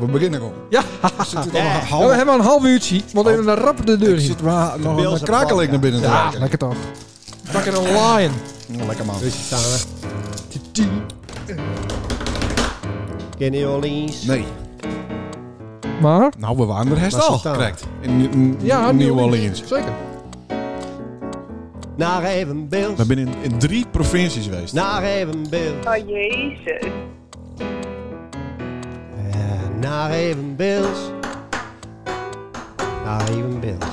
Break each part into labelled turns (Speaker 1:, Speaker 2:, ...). Speaker 1: we beginnen al.
Speaker 2: Ja,
Speaker 1: We zitten
Speaker 3: Ja.
Speaker 1: al een
Speaker 2: we
Speaker 1: half...
Speaker 2: hebben een half uurtje. Want even een rap de deur
Speaker 1: Ik
Speaker 2: in.
Speaker 1: zit maar nog
Speaker 3: Beelze
Speaker 1: een krakeling
Speaker 3: pap,
Speaker 1: naar binnen te
Speaker 2: ja.
Speaker 1: raken.
Speaker 2: Lekker toch. Fucking een lion.
Speaker 1: Nou, Lekker man.
Speaker 3: Dus je samen. Ken je Orleans?
Speaker 1: Nee.
Speaker 2: Maar?
Speaker 1: Nou, we waren er
Speaker 3: Maar ze
Speaker 1: herstal.
Speaker 3: staan.
Speaker 1: Correct. In, in
Speaker 2: Ja,
Speaker 1: New Orleans.
Speaker 2: Zeker.
Speaker 3: Naar even beeld.
Speaker 1: We zijn in, in drie provincies geweest.
Speaker 3: Naar even beeld.
Speaker 4: Oh jezus.
Speaker 3: Ja, naar even beeld. Naar even beeld.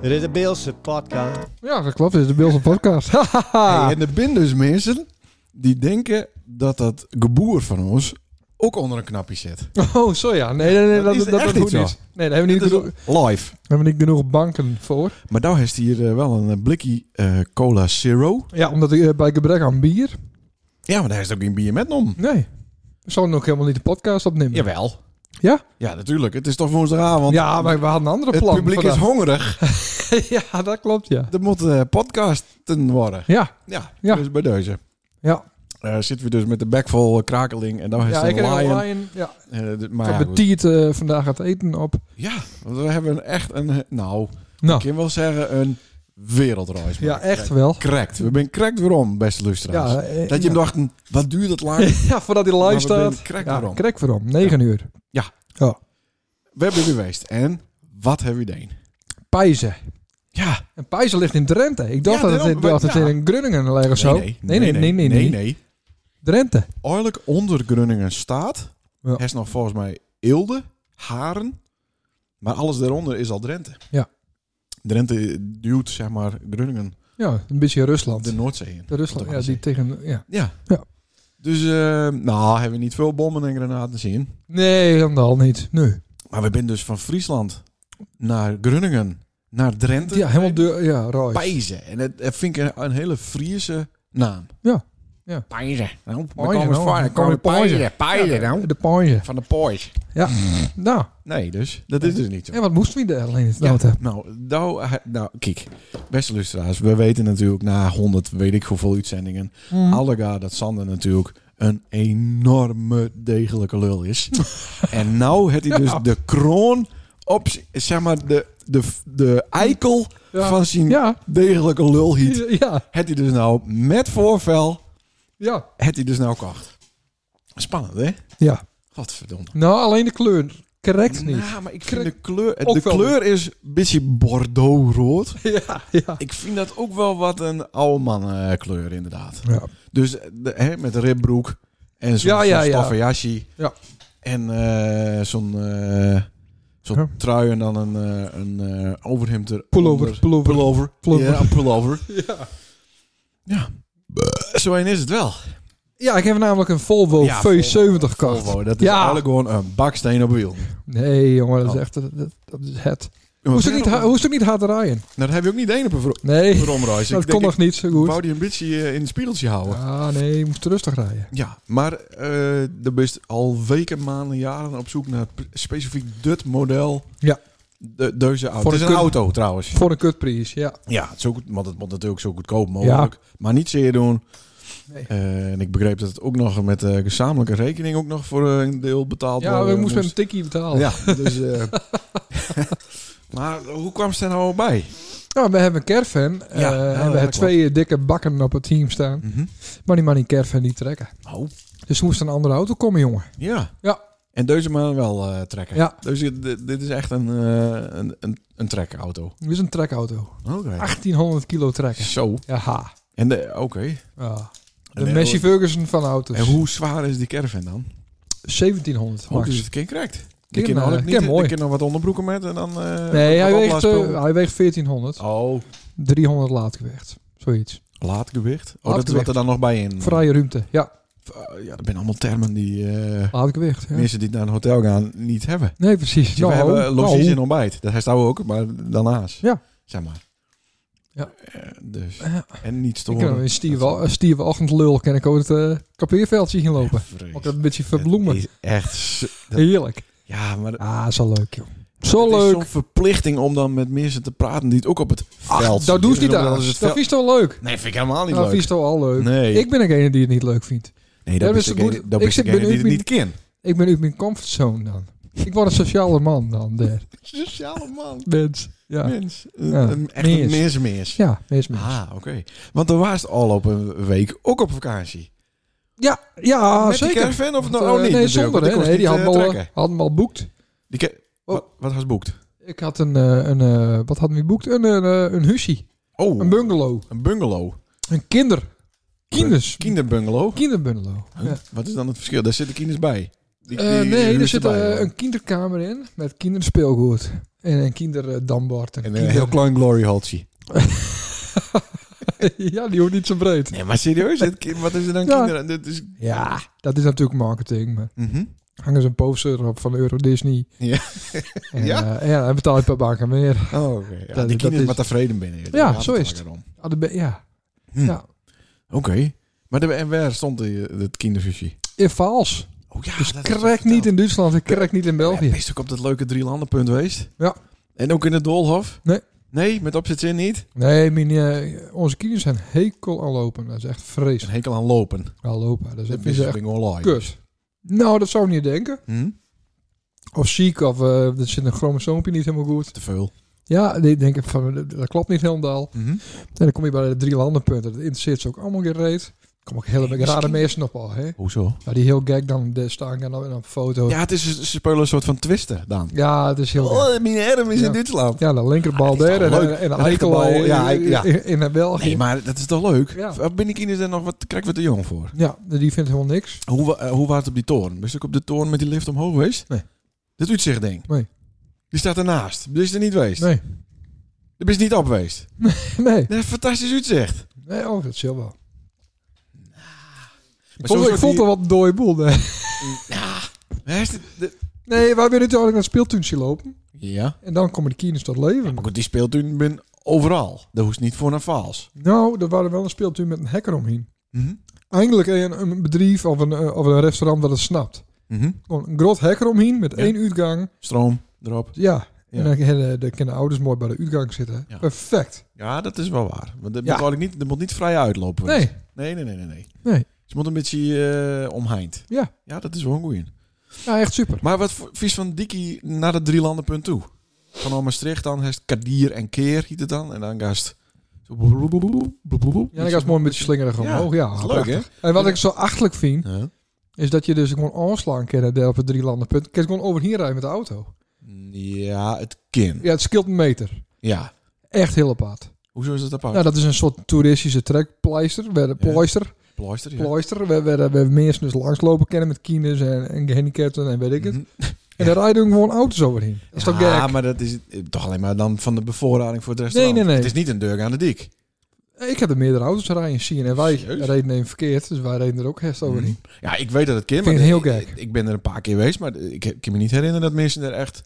Speaker 3: Dit is de Beelse podcast.
Speaker 2: Ja, dat klopt. Dit is de Beelse podcast.
Speaker 1: Hey, en er zijn dus mensen die denken dat dat geboer van ons ook onder een knapje zit.
Speaker 2: oh, zo ja. Nee, nee, nee.
Speaker 1: Dat
Speaker 2: Dat,
Speaker 1: is
Speaker 2: dat, dat,
Speaker 1: echt
Speaker 2: goed
Speaker 1: niet zo.
Speaker 2: is. Nee, daar hebben we
Speaker 1: Dit
Speaker 2: niet,
Speaker 1: is
Speaker 2: genoeg,
Speaker 1: live.
Speaker 2: daar hebben we niet genoeg banken voor.
Speaker 1: Maar nou heeft hier eh, wel een eh, blikje eh, cola zero.
Speaker 2: Ja, omdat ik eh, bij gebrek aan bier.
Speaker 1: Ja, maar daar is ook geen bier met om.
Speaker 2: Nee. We zouden ook helemaal niet de podcast opnemen.
Speaker 1: Jawel.
Speaker 2: Ja?
Speaker 1: Ja, natuurlijk. Het is toch woensdagavond.
Speaker 2: Ja, maar we hadden een andere
Speaker 1: het
Speaker 2: plan.
Speaker 1: publiek is
Speaker 2: vandaag.
Speaker 1: hongerig.
Speaker 2: ja, dat klopt, ja.
Speaker 1: Er moet eh, podcasten worden.
Speaker 2: Ja,
Speaker 1: Ja,
Speaker 2: Ja.
Speaker 1: dus bij deze.
Speaker 2: ja.
Speaker 1: Eh, zitten we dus met de bek vol eh, krakeling en nou heeft
Speaker 2: ja
Speaker 1: ja, een
Speaker 2: ik heb
Speaker 1: lion.
Speaker 2: een lion. Ja.
Speaker 1: Eh, d-
Speaker 2: Ik
Speaker 1: maar ja,
Speaker 2: heb
Speaker 1: goed.
Speaker 2: betiert eh, vandaag het eten op.
Speaker 1: ja, want we hebben een- echt een, eh, nou, ik
Speaker 2: Nou,
Speaker 1: kan wel zeggen een wereldreis.
Speaker 2: ja,
Speaker 1: gemaakt.
Speaker 2: echt wel.
Speaker 1: Correct. We zijn correct waarom, beste luisteraars.
Speaker 2: Ja, eh,
Speaker 1: dat je hem
Speaker 2: ja.
Speaker 1: dacht, een, wat duurt het lang?
Speaker 2: ja, voordat hij
Speaker 1: Maar
Speaker 2: live
Speaker 1: we
Speaker 2: staat.
Speaker 1: zijn krek
Speaker 2: ja,
Speaker 1: erom.
Speaker 2: krek voorom. 9 uur.
Speaker 1: We hebben geweest en wat hebben we gedaan?
Speaker 2: Pijzen.
Speaker 1: Ja,
Speaker 2: En Pijzen ligt in Drenthe. Ik dacht
Speaker 1: Ja,
Speaker 2: dat het,
Speaker 1: daarom,
Speaker 2: in- dacht dat het
Speaker 1: ja.
Speaker 2: in Groningen lag of zo.
Speaker 1: nee, nee, nee, nee, nee,
Speaker 2: nee. Drenthe.
Speaker 1: Eigenlijk onder Groningen staat,
Speaker 2: Ja.
Speaker 1: is nog volgens mij Eelde, Haren, maar alles daaronder is al Drenthe.
Speaker 2: Ja.
Speaker 1: Drenthe duwt, zeg maar, Groningen
Speaker 2: Ja, een beetje Rusland.
Speaker 1: de Noordzee in.
Speaker 2: De Rusland,
Speaker 1: Wat
Speaker 2: ja,
Speaker 1: ik
Speaker 2: die
Speaker 1: al
Speaker 2: tegen... Ja.
Speaker 1: zei. Ja.
Speaker 2: Ja.
Speaker 1: Dus, eh, nou, hebben we niet veel bommen en granaten zien.
Speaker 2: Nee, helemaal niet. Nee.
Speaker 1: Maar we zijn dus van Friesland naar Groningen, naar Drenthe.
Speaker 2: Ja, helemaal deur... Ja, raar.
Speaker 1: Pijzen. En dat, dat vind ik een, een hele Friese naam.
Speaker 2: Ja, ja.
Speaker 1: Pijzen. Nou, dan
Speaker 2: Pijzen,
Speaker 1: komen we
Speaker 2: nou,
Speaker 1: van-
Speaker 2: dan
Speaker 1: dan komen we
Speaker 2: komen we
Speaker 1: Pijzen. Pijzen, nou.
Speaker 2: De Pijzen.
Speaker 1: Van de Poys.
Speaker 2: Nou,
Speaker 1: Nee, dus. Dat is dus niet zo.
Speaker 2: en wat moesten we daar alleen in het
Speaker 1: Ja,
Speaker 2: noten?
Speaker 1: nou, nou, eh, nou, kijk. Beste luisteraars, we weten natuurlijk na 100, weet ik hoeveel uitzendingen,
Speaker 2: Mm.
Speaker 1: allegaar dat Sander natuurlijk een enorme degelijke lul is. en nou heeft hij dus
Speaker 2: Ja.
Speaker 1: de kroon op, z- zeg maar, de, de, de eikel
Speaker 2: Ja.
Speaker 1: van zijn
Speaker 2: Ja.
Speaker 1: degelijke lul hiet.
Speaker 2: Ja,
Speaker 1: Het hij dus nou met voorvel,
Speaker 2: ja,
Speaker 1: het hij dus nou kocht. Spannend, hè?
Speaker 2: ja.
Speaker 1: Godverdomme.
Speaker 2: Nou, alleen de kleur. Correct niet.
Speaker 1: Nou, maar ik vind de kleur...
Speaker 2: Ook
Speaker 1: De
Speaker 2: wel
Speaker 1: kleur is een beetje bordeaux-rood.
Speaker 2: Ja, ja.
Speaker 1: Ik vind dat ook wel wat een oude man eh, kleur, inderdaad.
Speaker 2: Ja,
Speaker 1: Dus eh, de, hè, met ribbroek en zo'n
Speaker 2: Ja,
Speaker 1: zo'n
Speaker 2: ja, ja.
Speaker 1: stoffen jasje.
Speaker 2: Ja.
Speaker 1: En eh, zo'n eh, zo'n
Speaker 2: Ja.
Speaker 1: trui en dan een, eh, een eh, overhemd er
Speaker 2: Pullover, pullover.
Speaker 1: Pullover.
Speaker 2: Pullover.
Speaker 1: Ja, een pullover.
Speaker 2: Ja.
Speaker 1: Ja. Eh, Zo een is het wel.
Speaker 2: ja ik heb namelijk een Volvo
Speaker 1: Ja,
Speaker 2: V70 gekocht.
Speaker 1: Volvo, Oh, dat is
Speaker 2: Ja.
Speaker 1: eigenlijk gewoon een baksteen op wiel.
Speaker 2: Nee, jongen, dat is
Speaker 1: Oh.
Speaker 2: echt dat, dat- dat is het. Hoe ze niet, ha- hoe ze niet hard rijden?
Speaker 1: Nou, dat heb je ook niet één op een vro-
Speaker 2: Nee,
Speaker 1: bromreis.
Speaker 2: dat
Speaker 1: Ik
Speaker 2: kon
Speaker 1: denk,
Speaker 2: nog niet zo
Speaker 1: Ik
Speaker 2: goed.
Speaker 1: wou die een beetje eh, in het spiegeltje houden. Ja,
Speaker 2: Ah, nee, je moest rustig rijden.
Speaker 1: maar eh er best al weken, maanden, jaren op zoek naar p- specifiek dit model.
Speaker 2: Ja.
Speaker 1: De, deze auto.
Speaker 2: Voor
Speaker 1: het is
Speaker 2: een
Speaker 1: een
Speaker 2: kun-
Speaker 1: auto trouwens.
Speaker 2: Voor een kutprijs, ja.
Speaker 1: Ja, het is ook, want het moet natuurlijk zo goedkoop mogelijk. Maar niet zeer doen.
Speaker 2: Nee.
Speaker 1: Eh, en ik begreep dat het ook nog met eh gezamenlijke rekening ook nog voor eh, een deel betaald
Speaker 2: Ja, we
Speaker 1: worden
Speaker 2: moesten
Speaker 1: moest.
Speaker 2: een tikkie betalen. Ja.
Speaker 1: Ja, dus... eh, maar hoe kwam ze er nou bij?
Speaker 2: Nou, we hebben een caravan. eh,
Speaker 1: Ja, nou,
Speaker 2: en we
Speaker 1: dat
Speaker 2: hebben
Speaker 1: klopt.
Speaker 2: twee eh, dikke bakken op het team staan. Maar die man die caravan niet trekken.
Speaker 1: Oh,
Speaker 2: Dus er moest een andere auto komen, jongen.
Speaker 1: ja.
Speaker 2: Ja.
Speaker 1: En deze man wel eh, trekken.
Speaker 2: Ja.
Speaker 1: Dus dit, dit is echt een, eh een, een, een trekauto.
Speaker 2: Dit is een trekauto.
Speaker 1: Oké.
Speaker 2: 1800 kilo trekken.
Speaker 1: Zo.
Speaker 2: Ja.
Speaker 1: En de, oké.
Speaker 2: ja. De
Speaker 1: En, eh,
Speaker 2: Messi Ferguson van auto's.
Speaker 1: En hoe zwaar is die caravan dan?
Speaker 2: 1700
Speaker 1: Hoe
Speaker 2: max.
Speaker 1: is het kind krijgt?
Speaker 2: Kind,
Speaker 1: kan
Speaker 2: eh,
Speaker 1: nog
Speaker 2: kind
Speaker 1: niet.
Speaker 2: mooi.
Speaker 1: Ik kan nog wat onderbroeken met en dan. eh,
Speaker 2: Nee,
Speaker 1: wat
Speaker 2: hij weegt, eh,
Speaker 1: opblaaspul.
Speaker 2: hij weegt 1400.
Speaker 1: oh,
Speaker 2: 300 laadgewicht. Zoiets.
Speaker 1: laadgewicht. Oh, dat is wat
Speaker 2: Laadgewicht.
Speaker 1: er dan nog bij in.
Speaker 2: Vrije ruimte. Ja,
Speaker 1: Eh, ja, dat zijn allemaal termen die eh,
Speaker 2: laadgewicht. Ja.
Speaker 1: mensen die naar een hotel gaan niet hebben.
Speaker 2: Nee, precies.
Speaker 1: Dus we hebben logies
Speaker 2: nou.
Speaker 1: en ontbijt. Dat hij ook, maar daarnaast.
Speaker 2: Ja.
Speaker 1: Zeg maar.
Speaker 2: Ja.
Speaker 1: Eh, dus.
Speaker 2: Ja.
Speaker 1: En niet
Speaker 2: Ik kan
Speaker 1: storen.
Speaker 2: in stierwa- eh, stierwachtend lul kan ik ook het eh kapeerveldje gaan lopen.
Speaker 1: Vrees.
Speaker 2: Mag ik dat een beetje
Speaker 1: Het
Speaker 2: verbloemen.
Speaker 1: is echt. zo- dat-
Speaker 2: Heerlijk.
Speaker 1: ja, maar
Speaker 2: Ah, zo leuk, joh. Zo
Speaker 1: Het is
Speaker 2: leuk.
Speaker 1: zo'n verplichting om dan met mensen te praten die het ook op het veld
Speaker 2: Ach, dat doet
Speaker 1: zien.
Speaker 2: niet
Speaker 1: Dus
Speaker 2: aan.
Speaker 1: omdat het
Speaker 2: Dat
Speaker 1: veld-
Speaker 2: is toch leuk?
Speaker 1: Nee, vind ik helemaal niet
Speaker 2: Dat
Speaker 1: leuk.
Speaker 2: is toch al leuk?
Speaker 1: Nee.
Speaker 2: Ik ben degene die het niet leuk vindt.
Speaker 1: Nee,
Speaker 2: Ja,
Speaker 1: dat
Speaker 2: dus
Speaker 1: is
Speaker 2: moet-
Speaker 1: degene, dat
Speaker 2: ik
Speaker 1: is
Speaker 2: zit
Speaker 1: degene die
Speaker 2: benieuwd
Speaker 1: het niet kent.
Speaker 2: Ik ben uit mijn comfortzone dan. Ik word een sociale man dan, der.
Speaker 1: Sociale man.
Speaker 2: Mens. Ja.
Speaker 1: Mens.
Speaker 2: Ja.
Speaker 1: Een- Echt een
Speaker 2: Meers.
Speaker 1: mens, mens.
Speaker 2: Ja, meest meer.
Speaker 1: Ah, oké. Want er was al op een week ook op vakantie.
Speaker 2: Ja, ja
Speaker 1: Met
Speaker 2: Ah, zeker.
Speaker 1: die caravan of nou
Speaker 2: Want,
Speaker 1: oh,
Speaker 2: eh,
Speaker 1: niet?
Speaker 2: Nee,
Speaker 1: natuurlijk,
Speaker 2: zonder.
Speaker 1: want
Speaker 2: hè.
Speaker 1: kon
Speaker 2: Nee, die
Speaker 1: niet,
Speaker 2: had
Speaker 1: eh,
Speaker 2: me al, eh,
Speaker 1: trekken.
Speaker 2: had me al boekt.
Speaker 1: Die ke-
Speaker 2: Oh.
Speaker 1: Wat, wat was boekt?
Speaker 2: Ik had een, eh, een eh, wat hadden we boekt? Een, een, eh, een huisje.
Speaker 1: Oh,
Speaker 2: Een
Speaker 1: een,
Speaker 2: bungalow.
Speaker 1: bungalow.
Speaker 2: Een kinder. Kinders.
Speaker 1: Kinderbungalow.
Speaker 2: Kinderbungalow.
Speaker 1: Huh?
Speaker 2: Ja.
Speaker 1: Wat is dan het verschil? Daar zitten kinders bij. Die-
Speaker 2: Eh,
Speaker 1: die
Speaker 2: nee, er
Speaker 1: huurt
Speaker 2: zit
Speaker 1: erbij,
Speaker 2: eh,
Speaker 1: hoor.
Speaker 2: een kinderkamer in met kinderspeelgoed. En een kinderdambord. En
Speaker 1: En eh, een
Speaker 2: kinder...
Speaker 1: heel klein glory holtje.
Speaker 2: ja, die hoort niet zo breed.
Speaker 1: Nee, maar serieus, het kind- wat is er dan
Speaker 2: Ja.
Speaker 1: kinderen? Dit is...
Speaker 2: Ja, dat is natuurlijk marketing. Maar
Speaker 1: Mhm.
Speaker 2: hangen ze een poster op van Euro Disney.
Speaker 1: Ja.
Speaker 2: En,
Speaker 1: Ja?
Speaker 2: ja? ja, dan betaal je per bank aan meer.
Speaker 1: Oh, oké. Ja,
Speaker 2: Dat-
Speaker 1: die
Speaker 2: dat
Speaker 1: kinderen
Speaker 2: is-
Speaker 1: maar tevreden binnen.
Speaker 2: Ja, zo is het.
Speaker 1: Oké.
Speaker 2: Ah, de be- ja.
Speaker 1: Hm.
Speaker 2: ja.
Speaker 1: Maar de, en waar stond die, eh, het kinderfusie?
Speaker 2: In Vaals.
Speaker 1: Oh ja,
Speaker 2: Dus krek niet in Duitsland en krek niet in
Speaker 1: België.
Speaker 2: België.
Speaker 1: Best ook op dat leuke drielandenpunt geweest.
Speaker 2: Ja.
Speaker 1: En ook in het Doolhof?
Speaker 2: Nee.
Speaker 1: Nee, met opzet zin niet?
Speaker 2: Nee, mijn, eh, onze kinderen zijn hekel aan lopen. Dat is echt
Speaker 1: Een
Speaker 2: vreselijk.
Speaker 1: hekel aan lopen.
Speaker 2: Aan lopen. Dat is,
Speaker 1: Dat
Speaker 2: dat
Speaker 1: is
Speaker 2: is
Speaker 1: een
Speaker 2: echt
Speaker 1: ding online.
Speaker 2: kut. Nou, dat zou ik niet denken.
Speaker 1: Hm?
Speaker 2: Of ziek, of eh, er zit een chromosoompje niet helemaal goed.
Speaker 1: Te veel.
Speaker 2: Ja, die denken van, dat- dat klopt niet helemaal.
Speaker 1: Mhm.
Speaker 2: En dan kom je bij de drie landenpunten. Dat interesseert ze ook allemaal geen reet. Er komen ook hele
Speaker 1: Nee,
Speaker 2: rare
Speaker 1: misschien-
Speaker 2: mensen op al, hè.
Speaker 1: Hoezo?
Speaker 2: Nou, die heel gek dan eh, staan en dan en dan foto. Ja.
Speaker 1: Ja, het is, ze spelen een soort van twisten dan.
Speaker 2: het is heel gek.
Speaker 1: Oh, mijn herm is
Speaker 2: Ja.
Speaker 1: in Duitsland.
Speaker 2: Ja, de linkerbal
Speaker 1: Ah, dat is
Speaker 2: daar en,
Speaker 1: toch leuk.
Speaker 2: en, en de
Speaker 1: De
Speaker 2: linkerbal
Speaker 1: rechterbal, ja,
Speaker 2: in,
Speaker 1: ik- ja.
Speaker 2: in, in België.
Speaker 1: Nee, maar dat is toch leuk?
Speaker 2: Ja.
Speaker 1: Of Ben ik kinderen daar nog wat, krijg ik wat te jong voor?
Speaker 2: Ja, die vindt helemaal niks.
Speaker 1: Hoe, wa- eh, hoe was het op die toren? Ben je ook op de toren met die lift omhoog geweest?
Speaker 2: Nee.
Speaker 1: Dat uitzicht ding?
Speaker 2: Nee.
Speaker 1: Die staat ernaast. Die is er niet geweest.
Speaker 2: Nee,
Speaker 1: Daar ben je niet op geweest.
Speaker 2: nee.
Speaker 1: Dat is fantastisch uitzicht.
Speaker 2: Nee, oh, dat is heel wel. Ik
Speaker 1: Maar
Speaker 2: vond,
Speaker 1: zo
Speaker 2: ik vond
Speaker 1: die-
Speaker 2: er wat een dode boel. Nee,
Speaker 1: Waar is dit- de-
Speaker 2: nee wij willen natuurlijk naar het speeltuintje lopen.
Speaker 1: Ja.
Speaker 2: En dan komen de kinderen tot leven.
Speaker 1: Maar goed, die speelt u ben overal. Daar hoeft niet voor naar Vaals.
Speaker 2: Nou, er waren wel een speeltuin met een hek eromheen.
Speaker 1: Mhm.
Speaker 2: Eindelijk een, een bedrijf of een, eh, of een restaurant dat het snapt.
Speaker 1: Mhm.
Speaker 2: Gewoon een groot hek eromheen met
Speaker 1: Ja.
Speaker 2: één uitgang.
Speaker 1: Stroom erop.
Speaker 2: Ja,
Speaker 1: Ja.
Speaker 2: en dan, kunnen- eh, dan kunnen de ouders mooi bij de uitgang zitten.
Speaker 1: Ja.
Speaker 2: Perfect.
Speaker 1: Ja, dat is wel waar. Want dat
Speaker 2: Ja.
Speaker 1: moet eigenlijk niet, dat moet niet vrij uitlopen.
Speaker 2: Nee,
Speaker 1: Nee, nee, nee, nee. nee.
Speaker 2: Nee.
Speaker 1: Ze moet een beetje eh omheind.
Speaker 2: Ja.
Speaker 1: Ja, dat is wel een goeie.
Speaker 2: ja, echt super.
Speaker 1: Maar wat voor- vies van Dikkie naar het drielandenpunt toe? Van al Maastricht dan, heeft Kadier en Keer hiet het dan. En dan gast... Ja,
Speaker 2: Ja, dan ga je mooi een beetje slingerig
Speaker 1: Ja,
Speaker 2: omhoog. Ja,
Speaker 1: Dat is leuk,
Speaker 2: prachtig.
Speaker 1: hè?
Speaker 2: En wat ik zo achtelijk vind,
Speaker 1: Ja.
Speaker 2: is dat je dus gewoon aanslaan kan daar op het drie landenpunt. Kun je gewoon over hier rijden met de auto.
Speaker 1: Ja, het kind.
Speaker 2: Ja, het scheelt een meter.
Speaker 1: Ja.
Speaker 2: Echt heel apart.
Speaker 1: Hoezo is dat apart?
Speaker 2: Nou, dat is een soort toeristische trekpleister. Waar de
Speaker 1: Oh. Ja.
Speaker 2: pleister,
Speaker 1: Pleister, ja.
Speaker 2: pleister waar, waar, waar mensen dus langslopen kennen met kinders en, en gehandicapten en weet ik het.
Speaker 1: Mhm.
Speaker 2: En daar rijden gewoon auto's overheen. Dat is toch
Speaker 1: ja,
Speaker 2: gek?
Speaker 1: maar dat is eh, toch alleen maar dan van de bevoorrading voor het
Speaker 2: Nee,
Speaker 1: restaurant.
Speaker 2: nee, nee.
Speaker 1: Het is niet een deur aan de dik.
Speaker 2: Ik heb er meerdere auto's rijden zien en wij
Speaker 1: Serieus? Mhm.
Speaker 2: reden even verkeerd. Dus wij reden er ook herst overheen.
Speaker 1: Ja, ik weet dat het kind.
Speaker 2: Vind
Speaker 1: maar
Speaker 2: ik heel
Speaker 1: ik,
Speaker 2: gek.
Speaker 1: Ik, ben er een paar keer geweest, maar ik ik kan me niet herinneren dat mensen er echt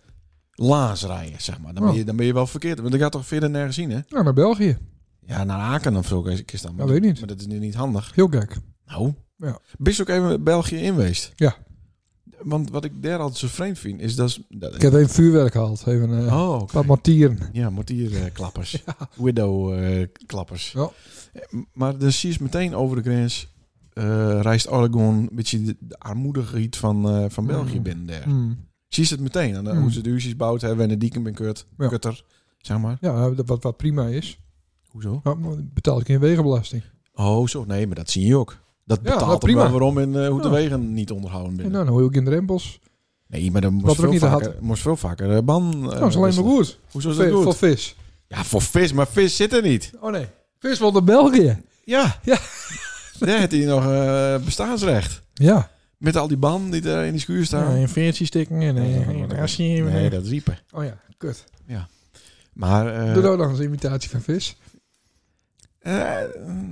Speaker 1: laas rijden, zeg maar. Dan ben
Speaker 2: Oh.
Speaker 1: je, dan ben je wel verkeerd. Want ik gaat toch verder nergens zien, hè?
Speaker 2: Nou, naar België.
Speaker 1: Ja, naar Aken of zo. Kees- Kees dan. Maar
Speaker 2: Dat weet ik niet.
Speaker 1: Maar dat is nu niet handig.
Speaker 2: Heel gek.
Speaker 1: Nou.
Speaker 2: Ja.
Speaker 1: Bist ook even België in geweest?
Speaker 2: Ja.
Speaker 1: Want wat ik daar altijd zo vreemd vind, is dat... is- dat
Speaker 2: Ik heb even vuurwerk gehaald. Even eh
Speaker 1: oh, oké.
Speaker 2: wat mortieren.
Speaker 1: Ja, eh, mortierklappers. eh, Widow-klappers.
Speaker 2: Ja.
Speaker 1: Eh, Maar dan zie je meteen over de grens... eh, reist Oregon een beetje de, de armoedige riet van, eh, van
Speaker 2: Mm.
Speaker 1: België binnen daar.
Speaker 2: Hmm.
Speaker 1: Zie je het meteen. aan de-
Speaker 2: Mm.
Speaker 1: Hoe ze de huisjes bouwt hebben en de dieken ben kut,
Speaker 2: Ja.
Speaker 1: kutter. Zeg maar.
Speaker 2: Ja, nou, dat wat, wat prima is.
Speaker 1: Hoezo?
Speaker 2: Nou, maar dan betaal ik geen wegenbelasting.
Speaker 1: Oh, zo. Nee, maar dat zie je ook. Dat
Speaker 2: Ja,
Speaker 1: betaalt
Speaker 2: nou,
Speaker 1: hem
Speaker 2: prima.
Speaker 1: wel waarom en eh, hoe de
Speaker 2: Ja.
Speaker 1: wegen niet onderhouden
Speaker 2: En
Speaker 1: binnen.
Speaker 2: Nou, dan hoor je ook in de rempels.
Speaker 1: Nee, maar dan moest
Speaker 2: er ook
Speaker 1: veel,
Speaker 2: niet te
Speaker 1: vaker, moest veel vaker eh, ban... eh,
Speaker 2: nou, dat is alleen maar goed.
Speaker 1: Hoezo is dat
Speaker 2: Ve-
Speaker 1: goed?
Speaker 2: Voor vis.
Speaker 1: Ja, voor vis. Maar vis zit er niet.
Speaker 2: Oh nee. Vis wil naar België.
Speaker 1: Ja.
Speaker 2: Ja.
Speaker 1: Daar heeft hij nog eh, bestaansrecht.
Speaker 2: Ja.
Speaker 1: Met al die ban die er in die schuur staan.
Speaker 2: en veertjes stikken
Speaker 1: Nee,
Speaker 2: en
Speaker 1: dat- Nee, dat riepen.
Speaker 2: Oh ja, kut.
Speaker 1: Maar... eh,
Speaker 2: Doe nou dan eens een imitatie van vis.
Speaker 1: eh,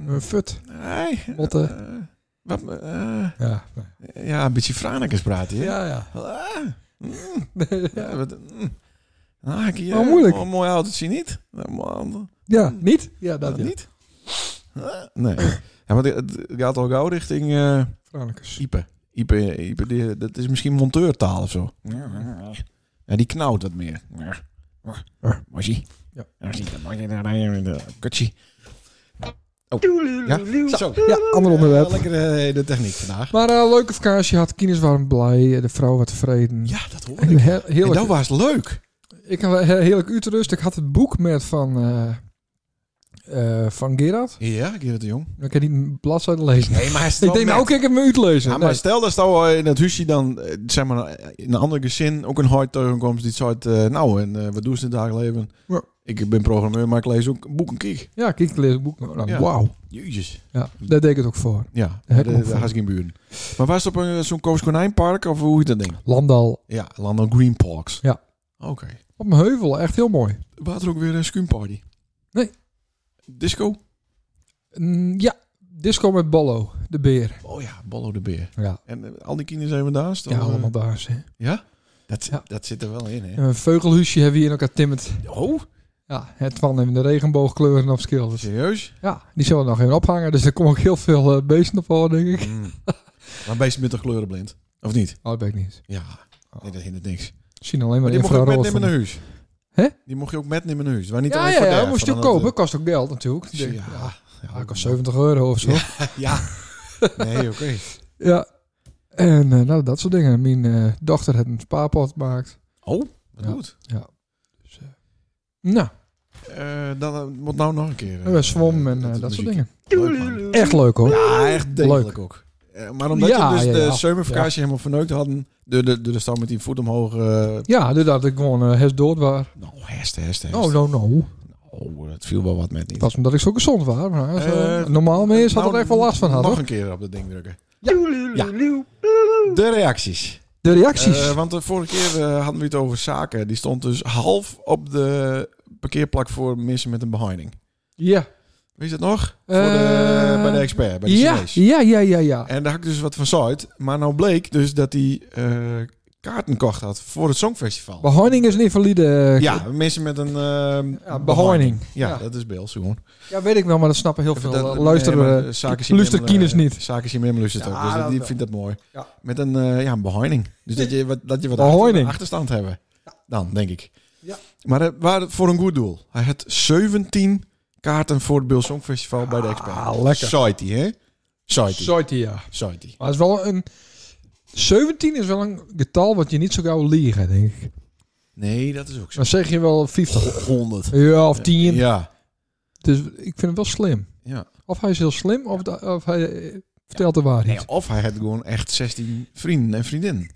Speaker 2: Een fut.
Speaker 1: nee,
Speaker 2: Botte.
Speaker 1: eh, wat, eh,
Speaker 2: Ja. nee.
Speaker 1: ja, een beetje franekes praten. Ja.
Speaker 2: Ja, ja.
Speaker 1: Ah, mm, ja, wat, mm. Ah, ik hier,
Speaker 2: Oh, moeilijk.
Speaker 1: Een mooi autootje niet. Nou, mooi-
Speaker 2: Ja, niet? Ja, dat
Speaker 1: nou,
Speaker 2: niet.
Speaker 1: niet. Ah, Nee. Ja, want het het gaat al gauw richting... eh,
Speaker 2: Franicus.
Speaker 1: Ipe. Ipe, Ipe die- dat is misschien monteurtaal of zo. Ja, die knauwt wat meer. Moshi.
Speaker 2: Ja.
Speaker 1: Kutsie. Oh. Ja? Zo.
Speaker 2: Ja, ander onderwerp.
Speaker 1: Lekker eh, de techniek vandaag.
Speaker 2: Maar eh, leuke vakantie had. Kinders waren blij. eh, De vrouw was tevreden.
Speaker 1: Ja, dat hoor
Speaker 2: En
Speaker 1: ik.
Speaker 2: he-
Speaker 1: En
Speaker 2: heerlijk,
Speaker 1: dat was leuk.
Speaker 2: ik had he- heerlijk Utrecht. Ik had het boek met van, eh, eh, van Gerard.
Speaker 1: Ja, Gerrit de Jong.
Speaker 2: Ik kan niet bladzijde lezen.
Speaker 1: Nee, maar hij
Speaker 2: ik denk, nou kijk ik hem uitlezen.
Speaker 1: Ja,
Speaker 2: Nee.
Speaker 1: maar stel dat stel in het huisje dan, eh, zeg maar, eh, in een ander gezin ook een hard tegenkomt die zegt, eh, nou, en eh, wat doen ze in het dagelijks
Speaker 2: Ja.
Speaker 1: leven? Ik ben programmeur, maar ik lees ook boeken kijk.
Speaker 2: Ja, kijk, ik lees het boek. Nou,
Speaker 1: Ja.
Speaker 2: Wauw.
Speaker 1: Jezus.
Speaker 2: Ja, daar deed ik het ook voor.
Speaker 1: Ja,
Speaker 2: Daar heb
Speaker 1: daar
Speaker 2: ik nog van.
Speaker 1: had ik geen buren. Maar was het op een, eh, zo'n Koos Konijnpark of hoe heet dat ding?
Speaker 2: Landal
Speaker 1: Ja, Landal Green Parks.
Speaker 2: Ja.
Speaker 1: Oké.
Speaker 2: op een heuvel. Echt heel mooi.
Speaker 1: Waar er ook weer een schuimparty?
Speaker 2: Nee.
Speaker 1: Disco?
Speaker 2: Mm, ja, disco met Ballo, de beer.
Speaker 1: Oh ja, Bollo de Beer.
Speaker 2: Ja,
Speaker 1: En eh, al die kinderen zijn we daar? eh, staan
Speaker 2: ja
Speaker 1: we-
Speaker 2: allemaal daar. Hè.
Speaker 1: Ja? Dat,
Speaker 2: Ja.
Speaker 1: dat zit er wel in, hè?
Speaker 2: En Een veugelhuisje hebben we hier in elkaar timmerd.
Speaker 1: Oh,
Speaker 2: Ja, het van in de regenboogkleuren op schilders.
Speaker 1: serieus?
Speaker 2: Ja, die zullen nog even ophangen. Dus er komen ook heel veel eh, beesten op voor, denk ik.
Speaker 1: Mm. maar beesten met de kleurenblind? Of niet?
Speaker 2: Oh, dat weet ik niet.
Speaker 1: Ja,
Speaker 2: Oh.
Speaker 1: nee, dat hindert niks.
Speaker 2: Ik zie alleen
Speaker 1: Maar
Speaker 2: maar
Speaker 1: die mocht je ook
Speaker 2: infrarood.
Speaker 1: metnemen naar huis.
Speaker 2: Hè?
Speaker 1: Die mocht je ook metnemen naar huis. Waar niet
Speaker 2: Ja,
Speaker 1: alleen
Speaker 2: ja,
Speaker 1: voor
Speaker 2: ja,
Speaker 1: daar,
Speaker 2: moest je
Speaker 1: van
Speaker 2: ook
Speaker 1: dat,
Speaker 2: kopen. Kost ook geld natuurlijk.
Speaker 1: eh, Ja,
Speaker 2: Ja,
Speaker 1: ja.
Speaker 2: dat kost 70 euro of zo. Ja.
Speaker 1: Ja. Nee, oké.
Speaker 2: En eh, nou, dat soort dingen. Mijn eh, dochter heeft een spaarpot gemaakt.
Speaker 1: Oh, wat
Speaker 2: Ja.
Speaker 1: goed.
Speaker 2: Dus, eh, nou,
Speaker 1: Eh, dan eh, moet nou nog een keer. eh,
Speaker 2: we zwom en
Speaker 1: eh,
Speaker 2: eh, dat soort
Speaker 1: muziek.
Speaker 2: dingen.
Speaker 1: Leuk, man.
Speaker 2: Echt leuk hoor.
Speaker 1: Ja, echt degelijk
Speaker 2: Leuk.
Speaker 1: ook. Eh, maar omdat
Speaker 2: Ja,
Speaker 1: je dus
Speaker 2: ja,
Speaker 1: de
Speaker 2: ja.
Speaker 1: zomervakantie helemaal verneukt hadden, de, de, de, de stam met die voet omhoog. eh,
Speaker 2: Ja, dus dat ik gewoon eh hest dood was.
Speaker 1: nou, hest, hest, hest.
Speaker 2: Oh, no, no.
Speaker 1: Oh, het viel wel wat met niet.
Speaker 2: Dat was omdat ik zo gezond was. Maar, als, eh,
Speaker 1: Eh,
Speaker 2: normaal mee had
Speaker 1: Nou,
Speaker 2: er echt wel last van had.
Speaker 1: Nog
Speaker 2: hoor.
Speaker 1: een keer op dat ding drukken.
Speaker 2: Ja.
Speaker 1: De reacties.
Speaker 2: De reacties.
Speaker 1: Eh, want de vorige keer eh, hadden we het over zaken. Die stond dus half op de parkeerplak voor mensen met een behinding.
Speaker 2: ja.
Speaker 1: Weet je dat nog?
Speaker 2: Eh,
Speaker 1: voor de, bij de expert, bij de
Speaker 2: ja,
Speaker 1: Chinees.
Speaker 2: ja, ja, ja, ja.
Speaker 1: En daar had ik dus wat van zout. Maar nou bleek dus dat hij eh, kaarten kocht had voor het Songfestival.
Speaker 2: Behinding is een invalide. eh,
Speaker 1: ja, mensen met een... eh,
Speaker 2: ja, behinding.
Speaker 1: Ja,
Speaker 2: Ja.
Speaker 1: dat is Beels gewoon.
Speaker 2: Ja, weet ik wel, maar dat snappen heel veel.
Speaker 1: Dat-
Speaker 2: eh, luisteren
Speaker 1: nee, maar,
Speaker 2: we.
Speaker 1: eh, zaken zien
Speaker 2: luister
Speaker 1: hem, eh,
Speaker 2: kieners niet.
Speaker 1: Zaken zien hem luistert ook.
Speaker 2: Ja,
Speaker 1: Dus dat- die
Speaker 2: dat-
Speaker 1: vindt dat mooi.
Speaker 2: Ja.
Speaker 1: Met een, eh, ja, een behinding. Dus dat je wat, dat je wat
Speaker 2: Behinding.
Speaker 1: achter- achterstand hebben. Dan, denk ik.
Speaker 2: Ja.
Speaker 1: Maar eh, het waren voor een goed doel. Hij had 17 kaarten voor het Beul Songfestival bij de expert.
Speaker 2: Ah, lekker.
Speaker 1: Society, hè? Society.
Speaker 2: Sorry, ja.
Speaker 1: Society.
Speaker 2: Maar het is wel een... 17 is wel een getal wat je niet zo gauw liegen, denk ik.
Speaker 1: Nee, dat is ook zo.
Speaker 2: Dan zeg je wel 50.
Speaker 1: 100.
Speaker 2: Ja, of 10.
Speaker 1: Ja.
Speaker 2: Dus ik vind hem wel slim.
Speaker 1: ja.
Speaker 2: Of hij is heel slim, of, da- of hij eh, vertelt de waarheid.
Speaker 1: Nee, of hij had gewoon echt 16 vrienden en vriendinnen.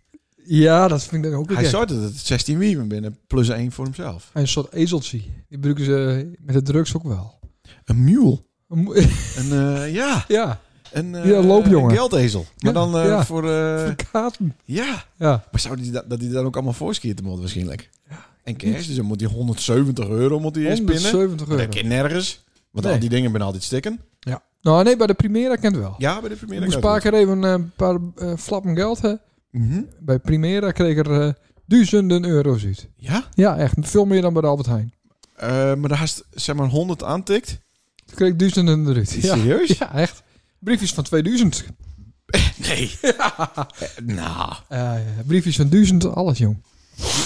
Speaker 2: Ja, dat vind ik dan ook weer
Speaker 1: Hij
Speaker 2: gek.
Speaker 1: zou dat het 16 wieven binnen, plus één voor hemzelf.
Speaker 2: Hij is een soort ezeltje. Die gebruiken ze eh, met de drugs ook wel.
Speaker 1: Een mule.
Speaker 2: Een mo-
Speaker 1: Een, eh, ja.
Speaker 2: ja,
Speaker 1: Een, eh,
Speaker 2: Ja, loopjongen.
Speaker 1: een geldezel. Maar
Speaker 2: Ja,
Speaker 1: dan eh,
Speaker 2: ja.
Speaker 1: voor... eh,
Speaker 2: kaarten.
Speaker 1: ja.
Speaker 2: Ja.
Speaker 1: Maar zou die dat, dat die dat ook allemaal voorskieten moet waarschijnlijk? En kerst, dus dan moet hij 170 euro moet hij eerst binnen.
Speaker 2: 170 euro.
Speaker 1: Dat kan nergens. Want
Speaker 2: Nee.
Speaker 1: al die dingen ben altijd stikken.
Speaker 2: Nou nee, bij de Primera kent wel.
Speaker 1: Ja, bij de
Speaker 2: ik
Speaker 1: première.
Speaker 2: moest een
Speaker 1: kan
Speaker 2: paar
Speaker 1: het
Speaker 2: keer even eh, een paar eh, flappen geld. Hè.
Speaker 1: wel. Mhm.
Speaker 2: Bij Primera kreeg ik er eh, duizenden euro's uit.
Speaker 1: Ja,
Speaker 2: Ja, echt. Veel meer dan bij de Albert Heijn.
Speaker 1: Eh, maar daar haast zeg maar 100 aantikt.
Speaker 2: Toen kreeg ik duizenden eruit. Ja.
Speaker 1: Serieus?
Speaker 2: ja, echt. Briefjes van 2000.
Speaker 1: Nee. Eh, nou,
Speaker 2: Eh, briefjes van 1000, alles jong.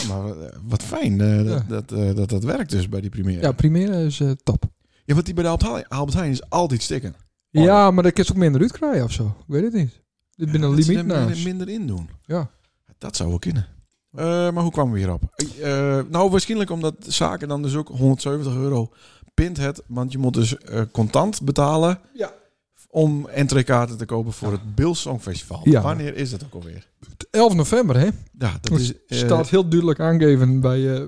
Speaker 1: maar eh, wat fijn eh, dat,
Speaker 2: Ja.
Speaker 1: dat, eh, dat dat werkt dus bij die première.
Speaker 2: Ja,
Speaker 1: Ja,
Speaker 2: Primera is eh, top.
Speaker 1: want die bij de Albert Heijn- Albert Heijn is altijd stikken. Oh.
Speaker 2: Ja, maar daar kun je ook minder uit krijgen of zo. Ik weet het niet. Dit binnen een
Speaker 1: Dat ze
Speaker 2: limiet
Speaker 1: er
Speaker 2: naast.
Speaker 1: minder- minder in doen.
Speaker 2: Ja.
Speaker 1: Dat zou wel kunnen. Eh, maar hoe kwamen we hierop? Eh, eh, nou, waarschijnlijk omdat zaken dan dus ook 170 euro pint het. Want je moet dus eh, contant betalen
Speaker 2: Ja.
Speaker 1: om entreekaarten te kopen voor het Bill Songfestival.
Speaker 2: Ja.
Speaker 1: Wanneer is dat ook alweer?
Speaker 2: 11 november, hè?
Speaker 1: Ja, dat
Speaker 2: Het
Speaker 1: is... eh,
Speaker 2: staat heel duidelijk aangegeven bij eh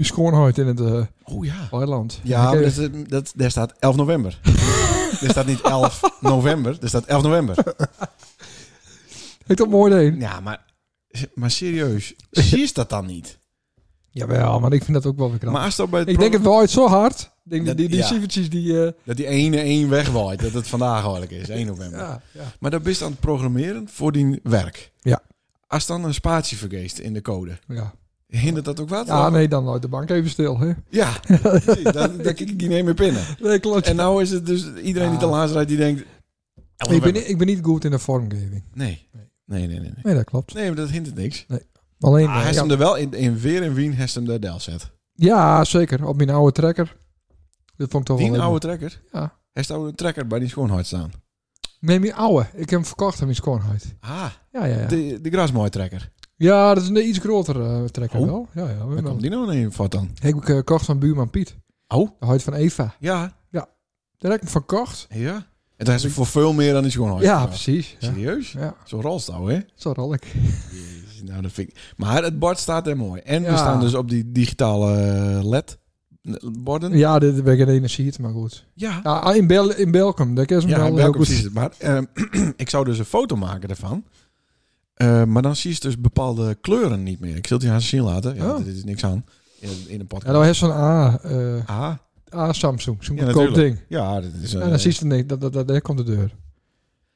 Speaker 2: bij schoonheid in het eh
Speaker 1: Oh ja.
Speaker 2: eiland.
Speaker 1: Ja, maar
Speaker 2: Oké.
Speaker 1: dat, is, eh, dat, daar staat 11 november. er staat niet 11 november, er staat 11 november.
Speaker 2: Ik dat mooi heen.
Speaker 1: Ja, maar, maar serieus, zie je dat dan niet?
Speaker 2: Jawel, maar ik vind dat ook wel weer knap.
Speaker 1: Maar als dat bij het
Speaker 2: ik denk het wel uit zo hard. Ik denk
Speaker 1: Dat-
Speaker 2: dat, die die
Speaker 1: ja.
Speaker 2: cijfertjes die... eh,
Speaker 1: Dat die ene één wegwaait. Dat het vandaag eigenlijk is, 1 november.
Speaker 2: ja, ja.
Speaker 1: Maar dat bist aan het programmeren voor die werk.
Speaker 2: Ja.
Speaker 1: Als dan een spatie vergeest in de code,
Speaker 2: Ja.
Speaker 1: hindert dat ook wat?
Speaker 2: ja, nee, dan uit de bank even stil, hè?
Speaker 1: Ja, precies. dan, dan kijk ik die niet meer binnen.
Speaker 2: Nee, klopt.
Speaker 1: En nou is het dus iedereen die te
Speaker 2: Ah.
Speaker 1: laat rijdt, die denkt...
Speaker 2: ik, ben, niet- ik ben niet goed in de vormgeving.
Speaker 1: Nee. Nee, nee, nee. Nee,
Speaker 2: Nee, dat klopt.
Speaker 1: nee maar dat hindert niks.
Speaker 2: Alleen...
Speaker 1: Ah, hij
Speaker 2: eh,
Speaker 1: is
Speaker 2: ja,
Speaker 1: hem er wel in, in weer en wien, hij is hem de Delzet.
Speaker 2: ja, zeker. Op mijn oude trekker. Dat vond ik toch Oh, wel...
Speaker 1: Die
Speaker 2: leuk.
Speaker 1: oude trekker?
Speaker 2: Ja.
Speaker 1: Hij staat een trekker bij die schoonheid staan.
Speaker 2: Neem die oude. Ik heb hem verkocht aan mijn schoonheid.
Speaker 1: Ah,
Speaker 2: Ja, ja, ja.
Speaker 1: de, de grasmaaitrekker.
Speaker 2: Ja, dat is een iets grotere eh, trekker
Speaker 1: Oh.
Speaker 2: wel. Ja, ja.
Speaker 1: Daar
Speaker 2: wel.
Speaker 1: komt die nou een fout dan.
Speaker 2: Heb ik eh, gekocht van buurman Piet.
Speaker 1: Oh.
Speaker 2: De huid van Eva.
Speaker 1: Ja,
Speaker 2: Daar heb ik hem van gekocht.
Speaker 1: ja. En daar is voor veel meer dan die schoonheid.
Speaker 2: ja, precies. Ja.
Speaker 1: Serieus?
Speaker 2: Ja,
Speaker 1: Zo'n rolstouw, hè?
Speaker 2: zo rol ik.
Speaker 1: Jezus, nou, dat vind ik... Maar het bord staat er mooi. En we
Speaker 2: Ja.
Speaker 1: staan dus op die digitale eh, LED-borden.
Speaker 2: Ja, dit ben ik in de energie, maar goed.
Speaker 1: Ja,
Speaker 2: Ja, ah, in, Bel in Belkum, daar is hem
Speaker 1: ja,
Speaker 2: wel
Speaker 1: welkom
Speaker 2: heel goed.
Speaker 1: precies. Maar ehm, ik zou dus een foto maken daarvan. Eh, maar dan zie je dus bepaalde kleuren niet meer. Ik zal het je aan zien laten. Ja,
Speaker 2: Oh.
Speaker 1: Dit is niks aan. In, in een
Speaker 2: Ja,
Speaker 1: podcast.
Speaker 2: dan heeft zo'n A, eh,
Speaker 1: ah,
Speaker 2: A Samsung, zo'n
Speaker 1: Ja,
Speaker 2: goedkoop
Speaker 1: natuurlijk.
Speaker 2: ding.
Speaker 1: ja, dit is...
Speaker 2: En
Speaker 1: een. eh,
Speaker 2: dan zie je het niet, dat, dat, dat, daar komt de deur.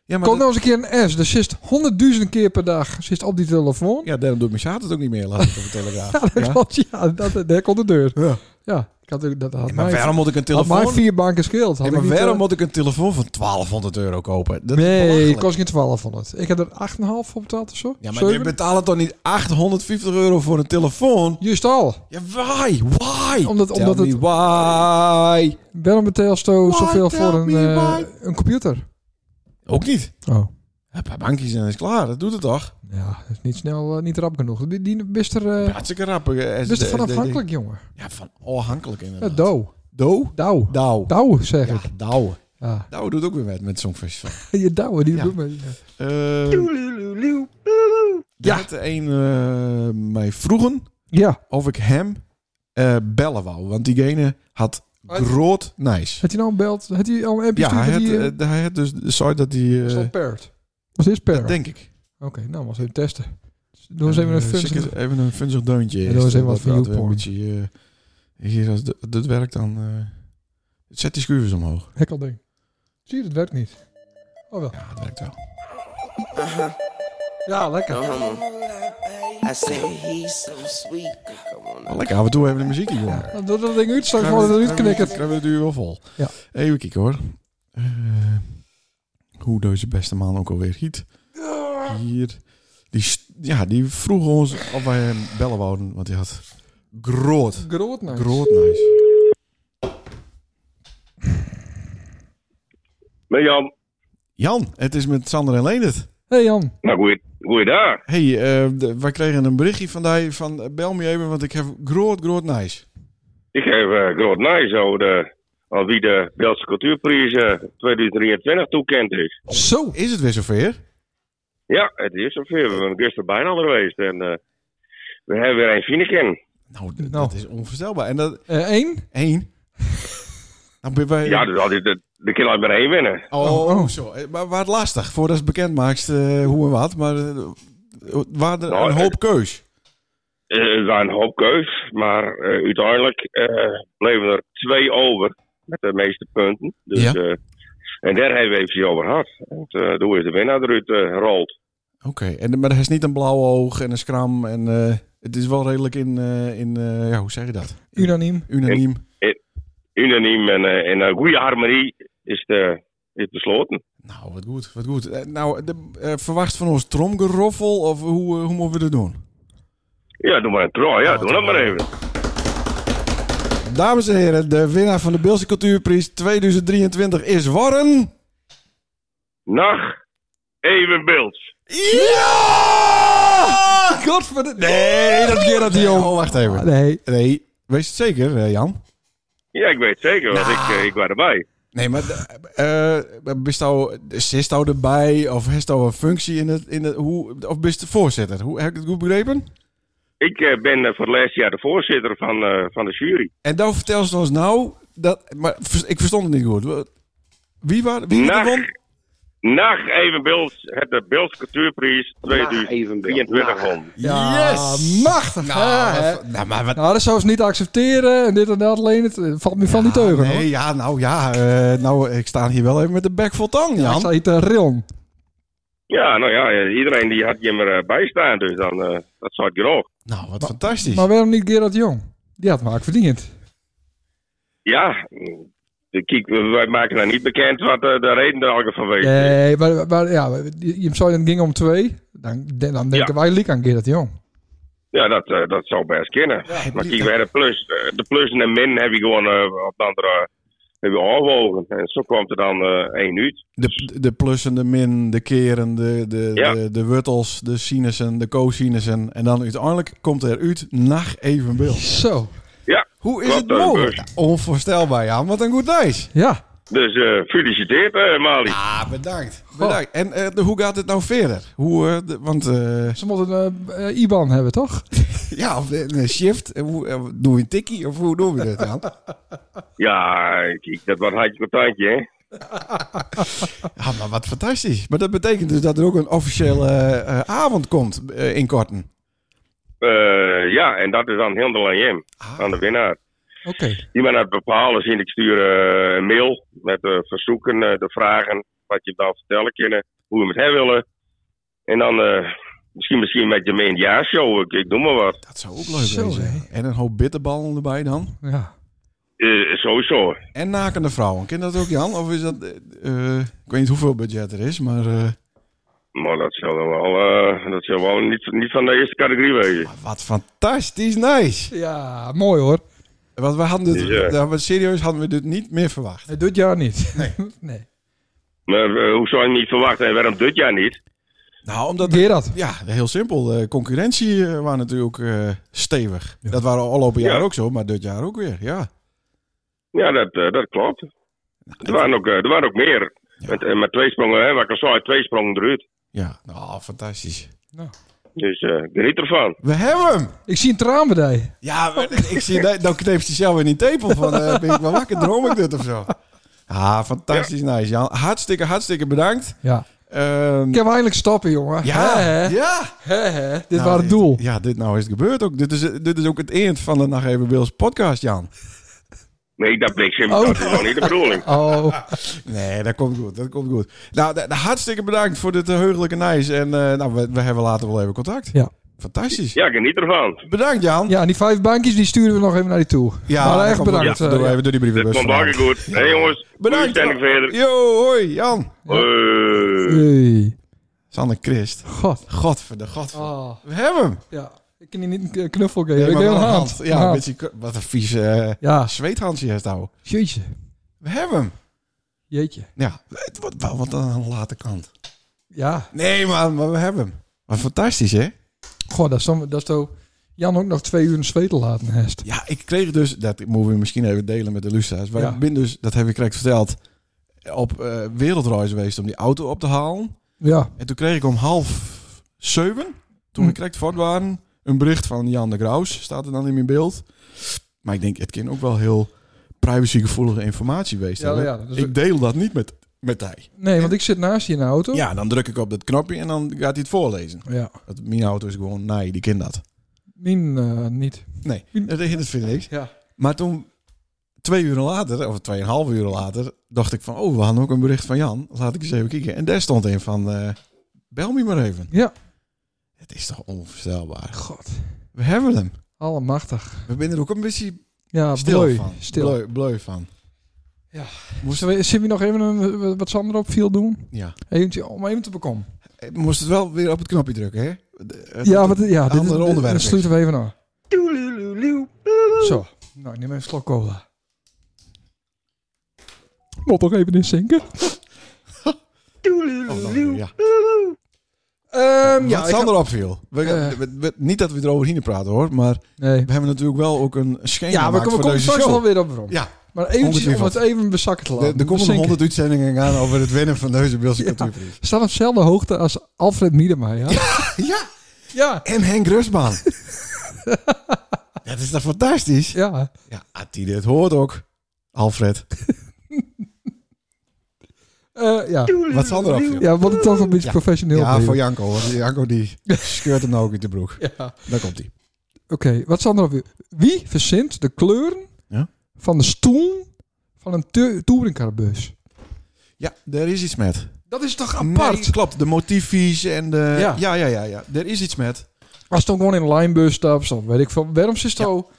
Speaker 1: ja, maar
Speaker 2: Komt
Speaker 1: dat-
Speaker 2: nou eens een keer een S, daar zit honderdduizend keer per dag zit op die telefoon.
Speaker 1: ja, daarom doet mijn zaad het ook niet meer, laat ik op de telegraaf.
Speaker 2: Ja, dat
Speaker 1: Ja.
Speaker 2: klopt, ja, dat, daar komt de deur.
Speaker 1: Ja.
Speaker 2: Ja, ik had, ook- dat had,
Speaker 1: Ja, maar
Speaker 2: mij,
Speaker 1: waarom moet ik een
Speaker 2: had
Speaker 1: telefoon...
Speaker 2: mij vier banken scheeld. Had
Speaker 1: Ja,
Speaker 2: ik
Speaker 1: maar
Speaker 2: niet,
Speaker 1: waarom
Speaker 2: eh,
Speaker 1: moet ik een telefoon van 1200 euro kopen? Dat is
Speaker 2: Nee,
Speaker 1: belachelijk.
Speaker 2: het kost geen 1200. Ik heb er 8,5 voor betaald of zo.
Speaker 1: Ja, maar
Speaker 2: Zeven?
Speaker 1: je betaalt toch niet 850 euro voor een telefoon?
Speaker 2: Just al.
Speaker 1: Ja, why? Why?
Speaker 2: Omdat-
Speaker 1: Tell
Speaker 2: omdat
Speaker 1: me
Speaker 2: het-
Speaker 1: Why?
Speaker 2: Waarom betaal je
Speaker 1: Why
Speaker 2: zoveel
Speaker 1: tell
Speaker 2: voor een,
Speaker 1: me
Speaker 2: eh,
Speaker 1: why?
Speaker 2: een computer?
Speaker 1: Ook niet.
Speaker 2: Oh.
Speaker 1: Een paar bankjes en dan is het klaar. Dat doet het toch?
Speaker 2: Ja, dat is niet snel, eh, niet rap genoeg. Die, die bist er, eh,
Speaker 1: Hartstikke rap. eh,
Speaker 2: bist er van
Speaker 1: SD.
Speaker 2: afhankelijk, jongen.
Speaker 1: Ja, van afhankelijk
Speaker 2: Ja,
Speaker 1: inderdaad.
Speaker 2: dou.
Speaker 1: Do?
Speaker 2: Douw.
Speaker 1: Douw.
Speaker 2: Douw, zeg
Speaker 1: Ja,
Speaker 2: ik.
Speaker 1: douw.
Speaker 2: Ja.
Speaker 1: Douw doet ook weer met met Songfestival.
Speaker 2: Je douwen, die
Speaker 1: Ja.
Speaker 2: doet me.
Speaker 1: Eh ja. een eh, mij vroegen
Speaker 2: Ja.
Speaker 1: of ik hem eh, bellen wou. Want diegene had
Speaker 2: Uit-
Speaker 1: groot nice.
Speaker 2: Had hij nou een belt? Had hij al een appje
Speaker 1: Ja, hij
Speaker 2: gestuurd?
Speaker 1: had,
Speaker 2: dat die, eh,
Speaker 1: eh, hij had dus de site dat hij... eh,
Speaker 2: is dat paired? Was dit paired?
Speaker 1: dat denk ik.
Speaker 2: Oké, nou, was even testen. Doe eens even een
Speaker 1: Eh,
Speaker 2: fun.
Speaker 1: zeker Even een funzig deuntje.
Speaker 2: Ja,
Speaker 1: eerst,
Speaker 2: doe eens even
Speaker 1: dat
Speaker 2: wat van
Speaker 1: we altijd
Speaker 2: YouPorn.
Speaker 1: Een beetje, eh, hier, als d- dat werkt dan... eh, zet die schuivers omhoog.
Speaker 2: Hekkelding. Zie je, het werkt niet. Oh wel.
Speaker 1: Ja, dat werkt wel.
Speaker 4: Uh-huh.
Speaker 2: Ja, lekker.
Speaker 4: No homo. I said he's so sweet. Come on.
Speaker 1: Maar Nou, lekker, af en toe hebben we de muziek hier. jongen.
Speaker 2: Nou, Doe dat ding uit, straks wordt het eruit
Speaker 1: knikken.
Speaker 2: knikkerd.
Speaker 1: Krijgen we de duur wel vol.
Speaker 2: Ja.
Speaker 1: Even kijken hoor. Eh, hoe deze beste man ook alweer hiet. Hier. Die, st- ja, die vroeg ons of wij hem bellen wouden, want hij had groot,
Speaker 2: Groot nice.
Speaker 1: groot nice.
Speaker 5: Ben Jan.
Speaker 1: Jan, het is met Sander en Leendert.
Speaker 2: Hey Jan.
Speaker 5: Nou, goeie- goeiedag.
Speaker 1: Hey, eh, de- wij kregen een berichtje van die van eh, bel me even, want ik heb groot, groot nice.
Speaker 5: Ik geef eh Groot Nijs al de, al wie de Belgische Cultuurprijs eh, 2023 toekend is.
Speaker 2: Zo.
Speaker 1: Is het weer zover?
Speaker 5: Ja, het is zover. We zijn gisteren bijna al geweest en eh, we hebben weer een Fineken.
Speaker 1: Nou, d-
Speaker 2: Nou.
Speaker 1: dat is onvoorstelbaar. En dat
Speaker 2: Eén.
Speaker 1: één. Dan ben wij.
Speaker 5: Ja, dus al die, de, de kan alleen maar één winnen.
Speaker 1: oh,
Speaker 2: Oh, oh.
Speaker 1: zo. Eh, Maar waar het lastig voordat het bekend maakt eh, hoe en wat, maar eh, waar er
Speaker 5: Nou,
Speaker 1: een
Speaker 5: eh,
Speaker 1: hoop keus.
Speaker 5: Eh, Het was een hoop keus, maar eh, uiteindelijk eh, bleven er twee over met de meeste punten. Dus,
Speaker 1: Ja.
Speaker 5: eh, en daar hebben we even over gehad. En eh, toen is de winnaar eruit eh, gerold.
Speaker 1: Oké, en maar er is niet een blauw oog en een schram en eh, het is wel redelijk in, eh, in eh, ja, hoe zeg je dat?
Speaker 2: Unaniem.
Speaker 1: Unaniem.
Speaker 5: unaniem en eh, in een goede harmonie is, de, is besloten.
Speaker 1: Nou, wat goed, wat goed. Eh, nou, de, eh, verwacht van ons tromgeroffel of hoe, eh, hoe moeten we dat doen?
Speaker 5: Ja, doe maar een trooi. Ja,
Speaker 1: Oh,
Speaker 5: doe dat maar even.
Speaker 1: Dames en heren, de winnaar van de Beelse Cultuurprijs 2023 is Warren.
Speaker 5: Nacht, even beeld.
Speaker 1: Ja!
Speaker 2: Godverdomme.
Speaker 1: Nee, dat keer dat hij Oh, wacht even.
Speaker 2: Nee.
Speaker 1: Nee, wees het zeker, eh, Jan.
Speaker 5: Ja, ik weet het zeker, want ik, eh, ik was erbij.
Speaker 1: Nee, maar eh eh, bist nou, zit nou erbij of heeft nou een functie in het, in het hoe, of bist de voorzitter? Hoe heb ik het goed begrepen?
Speaker 5: Ik eh, ben eh, voor het laatste jaar de voorzitter van, eh, van de jury.
Speaker 1: En dan vertel ze ons nou dat, maar vers- ik verstond het niet goed. Wie waren? Wie
Speaker 5: Nacht,
Speaker 1: won?
Speaker 5: nacht even beeld. Het de Beels Cultuurprijs
Speaker 4: Nacht even beeld.
Speaker 5: 2023
Speaker 4: Nacht.
Speaker 5: won.
Speaker 2: Ja, machtig. hè,
Speaker 1: Nou,
Speaker 2: hè?
Speaker 1: wat- nou, maar wat,
Speaker 2: Nou, dat zou ze niet accepteren. En dit en dat alleen. Het eh, valt me van die teugen.
Speaker 1: Nee,
Speaker 2: hoor.
Speaker 1: ja, nou ja. eh, nou, ik sta hier wel even met de bek vol tang,
Speaker 2: Ja, ik
Speaker 1: Jan.
Speaker 2: zei het eh, rillen.
Speaker 5: Ja, nou ja, eh, iedereen die had je maar eh, bijstaan, dus dan, eh, dat zou ik ook.
Speaker 1: Nou, wat fantastisch.
Speaker 2: Maar waarom niet Gerard Jong? Die had maar verdiend.
Speaker 5: Ja, eh, kijk, wij maken daar niet bekend wat eh, de reden er al van wezen is.
Speaker 2: Nee, Eh, maar, maar ja, je je zou het ging om twee. Dan, dan denken wij liek aan Gerard Jong.
Speaker 5: Ja, dat, eh, dat zou best kunnen. maar kijk, we hebben plus, eh, de plus en de min heb je gewoon eh, op de andere hebben we afwogen. En zo kwam er dan eh, één uit.
Speaker 1: De, de plussen, de min, de keren, de, de,
Speaker 5: Ja.
Speaker 1: de, de wortels, de sinussen, de cosinussen. En dan uiteindelijk komt er uit nacht evenbeeld.
Speaker 2: Zo.
Speaker 5: Ja,
Speaker 1: Hoe is
Speaker 5: Klopt, eh,
Speaker 1: het mogelijk?
Speaker 5: Herbert.
Speaker 1: Ja, onvoorstelbaar, ja. Wat een goed lijst.
Speaker 2: Ja.
Speaker 5: dus eh, gefeliciteerd eh, Mali.
Speaker 1: Ah, bedankt. bedankt. En eh, de, hoe gaat het nou verder? Hoe, eh, de- want eh,
Speaker 2: Ze moeten een eh, eh, IBAN hebben, toch?
Speaker 1: ja, of eh, een een shift. En Hoe, eh, doe je een tikkie of hoe doen we dat dan?
Speaker 5: Ja, kijk, dat was handje contantje, hè.
Speaker 1: Ja, maar wat fantastisch. Maar dat betekent dus dat er ook een officiële eh, eh, avond komt eh, in Korten.
Speaker 5: Eh, ja, en dat is dan helemaal aan hem,
Speaker 1: Ah.
Speaker 5: aan de winnaar.
Speaker 2: Oké.
Speaker 5: Die man het bepalen zien. Ik stuur eh, een mail met de verzoeken, eh, de vragen, wat je dan vertellen kunnen, hoe we het hebben willen. En dan eh, misschien, misschien met je mee in de jaarshow, ik, ik noem maar wat.
Speaker 1: Dat zou ook leuk
Speaker 2: Zo,
Speaker 1: zijn.
Speaker 2: hè.
Speaker 1: En een hoop bitterballen erbij dan.
Speaker 2: Ja.
Speaker 5: Eh, sowieso.
Speaker 1: En nakende vrouwen. Ken je dat ook, Jan? Of is dat... eh, eh, ik weet niet hoeveel budget er is, maar... eh,
Speaker 5: Maar dat zal wel, eh, dat zal wel niet, niet van de eerste categorie wezen.
Speaker 1: wat fantastisch nice.
Speaker 2: Ja, mooi hoor.
Speaker 1: Want we hadden dit...
Speaker 5: Ja.
Speaker 1: ja, maar serieus hadden we dit niet meer verwacht.
Speaker 2: Nee, dit jaar niet. Nee.
Speaker 5: Maar eh, hoe zou je niet verwachten en waarom dit jaar niet?
Speaker 1: Nou, omdat...
Speaker 2: Weer dat.
Speaker 1: Ja, heel simpel. De concurrentie eh, was natuurlijk eh, stevig. Dat waren afgelopen jaar
Speaker 5: Ja.
Speaker 1: ook zo, maar dit jaar ook weer. Ja.
Speaker 5: Ja, dat, eh, dat klopt. Er waren ook, eh, er waren ook meer. Met, eh, met twee sprongen, hè, wat ik al zei, twee sprongen eruit.
Speaker 1: Ja. Nou, fantastisch.
Speaker 5: Dus eh, geniet ervan.
Speaker 1: We hebben hem!
Speaker 2: Ik zie een traanbedij.
Speaker 1: Ja, maar ik zie dat, dan kneept hij zelf in die tepel van eh, ben ik wel wakker, droom ik dit of zo. Ah, fantastisch nice Jan. Hartstikke, hartstikke bedankt.
Speaker 2: Ja.
Speaker 1: Ehm,
Speaker 2: Ik heb eindelijk stappen, jongen.
Speaker 1: ja,
Speaker 2: Hè, hè?
Speaker 1: ja.
Speaker 2: Hè, hè? Dit
Speaker 1: Nou,
Speaker 2: was het doel.
Speaker 1: Ja, dit nou is het gebeurd ook. Dit is, dit is ook het eind van de Nacht Even Wils podcast, Jan.
Speaker 5: Nee, dat bleek simpel.
Speaker 2: Oh.
Speaker 5: Dat is gewoon niet de bedoeling.
Speaker 2: Oh,
Speaker 1: Nee, dat komt goed, dat komt goed. Nou, d- d- hartstikke bedankt voor dit eh, heugelijke nice. En eh, nou, we, we hebben later wel even contact.
Speaker 2: ja.
Speaker 1: Fantastisch.
Speaker 5: Ja, geniet ervan.
Speaker 1: Bedankt, Jan.
Speaker 2: Ja, en die vijf bankjes die sturen we nog even naar die toe. maar
Speaker 1: dat
Speaker 2: echt
Speaker 1: komt wel
Speaker 2: bedankt.
Speaker 1: goed.
Speaker 2: eh,
Speaker 1: Doen we even door die
Speaker 5: Dit
Speaker 1: brievenbus.
Speaker 5: komt hartstikke
Speaker 1: vandaag.
Speaker 5: goed. Hé jongens, goede
Speaker 1: Bedankt.
Speaker 5: stelling verder.
Speaker 1: Yo, hoi, Jan.
Speaker 5: Hoi.
Speaker 2: Hey.
Speaker 1: Sanne Christ.
Speaker 2: God.
Speaker 1: Godver, godver.
Speaker 2: Oh,
Speaker 1: We hebben hem.
Speaker 2: ja. Ik kan die niet een knuffel geven.
Speaker 1: Ja,
Speaker 2: ik
Speaker 1: maar
Speaker 2: deel
Speaker 1: wel
Speaker 2: een
Speaker 1: een
Speaker 2: hand.
Speaker 1: hand. Ja,
Speaker 2: Een
Speaker 1: een
Speaker 2: hand.
Speaker 1: beetje, k- wat een vieze
Speaker 2: Ja,
Speaker 1: uh, zweethandje heeft nou.
Speaker 2: jeetje.
Speaker 1: We hebben hem.
Speaker 2: Jeetje.
Speaker 1: Ja, het wordt wel wat aan de late kant.
Speaker 2: Ja.
Speaker 1: Nee man, maar we hebben hem. Wat fantastisch hè?
Speaker 2: Goh, dat is, dan- dat is toch Jan ook nog twee uur een zweet te laten hest.
Speaker 1: Ja, ik kreeg dus, dat moeten we misschien even delen met de lustra's. Wij
Speaker 2: Ja.
Speaker 1: ben dus, dat heb ik correct verteld, op eh, wereldreis geweest om die auto op te halen.
Speaker 2: Ja.
Speaker 1: En toen kreeg ik om half zeven, toen we
Speaker 2: Hm.
Speaker 1: correct voort waren, een bericht van Jan de Graus. Staat er dan in mijn beeld. Maar ik denk, het kan ook wel heel privacygevoelige informatie geweest
Speaker 2: Ja,
Speaker 1: hebben.
Speaker 2: ja, Dus dat is-
Speaker 1: ik deel dat niet met, met hij.
Speaker 2: Nee, want ik zit naast je in de auto.
Speaker 1: Ja, dan druk ik op dat knopje en dan gaat hij het voorlezen.
Speaker 2: Ja.
Speaker 1: Dat, mijn auto is gewoon, nee, die kind dat.
Speaker 2: Mien eh, niet.
Speaker 1: Nee, dat hindert vind ik niks.
Speaker 2: Ja.
Speaker 1: Maar toen, twee uur later, of tweeënhalf uur later, dacht ik van, oh, we hadden ook een bericht van Jan. Laat ik eens even kijken. En daar stond een van, eh, bel me maar even.
Speaker 2: Ja.
Speaker 1: Het is toch onvoorstelbaar.
Speaker 2: God.
Speaker 1: We hebben hem.
Speaker 2: Allemachtig.
Speaker 1: We zijn er ook een beetje
Speaker 2: Ja,
Speaker 1: stil
Speaker 2: bleu.
Speaker 1: van.
Speaker 2: Stil.
Speaker 1: Bleu, bleu van.
Speaker 2: Ja.
Speaker 1: Moest,
Speaker 2: Zullen we, zullen we nog even een, wat Sander op viel doen?
Speaker 1: ja.
Speaker 2: Eventje, om even te bekomen.
Speaker 1: Eh, moest het wel weer op het knopje drukken, hè? De- eh, het-
Speaker 2: Ja, wat, ja dit is
Speaker 1: Andere onderwerp
Speaker 2: dit
Speaker 1: is.
Speaker 2: sluiten we even aan. Zo, nou, ik neem even een slok cola. Moet toch even inzinken?
Speaker 1: Oh, dan weer, ja.
Speaker 2: Ehm
Speaker 1: Ja,
Speaker 2: ja,
Speaker 1: wat
Speaker 2: ik
Speaker 1: Sander
Speaker 2: had-
Speaker 1: opviel. We,
Speaker 2: Eh.
Speaker 1: we- we- niet dat we eroverheen praten hoor, maar
Speaker 2: nee.
Speaker 1: we hebben natuurlijk wel ook een schema
Speaker 2: Ja, we
Speaker 1: gemaakt
Speaker 2: komen,
Speaker 1: voor
Speaker 2: we komen
Speaker 1: deze
Speaker 2: straks
Speaker 1: show.
Speaker 2: wel weer op rond.
Speaker 1: Ja,
Speaker 2: Maar eventjes om
Speaker 1: Ongetwijfeld.
Speaker 2: het even bezakken te
Speaker 1: er-
Speaker 2: laten.
Speaker 1: er komt nog
Speaker 2: bezinken.
Speaker 1: 100 uitzendingen aan over het winnen van deze Beelse
Speaker 2: Ja.
Speaker 1: Cultuurprijs.
Speaker 2: Staat op dezelfde hoogte als Alfred Miedema, ja? Ja.
Speaker 1: Ja,
Speaker 2: Ja.
Speaker 1: en Henk Rustbaan. dat is toch fantastisch?
Speaker 2: ja.
Speaker 1: Ja, die dit hoort ook. Alfred,
Speaker 2: Eh, ja.
Speaker 1: wat Sander opviel.
Speaker 2: ja, wat het toch een beetje
Speaker 1: Ja.
Speaker 2: professioneel
Speaker 1: Ja,
Speaker 2: bleef.
Speaker 1: voor Janko. Want Janko die scheurt hem nou ook in de broek.
Speaker 2: Ja.
Speaker 1: Daar komt hij.
Speaker 2: Oké, wat Sander opviel. Wie verzint de kleuren
Speaker 1: Ja?
Speaker 2: van de stoel van een tu- touringcarbus?
Speaker 1: Ja, er is iets met.
Speaker 2: Dat is toch apart?
Speaker 1: Nee, klopt, de motiefjes en de...
Speaker 2: Ja.
Speaker 1: ja, ja, ja, ja. Er is iets met.
Speaker 2: Als het dan gewoon in een lijnbus stapt, dan weet ik veel. Waarom zit zo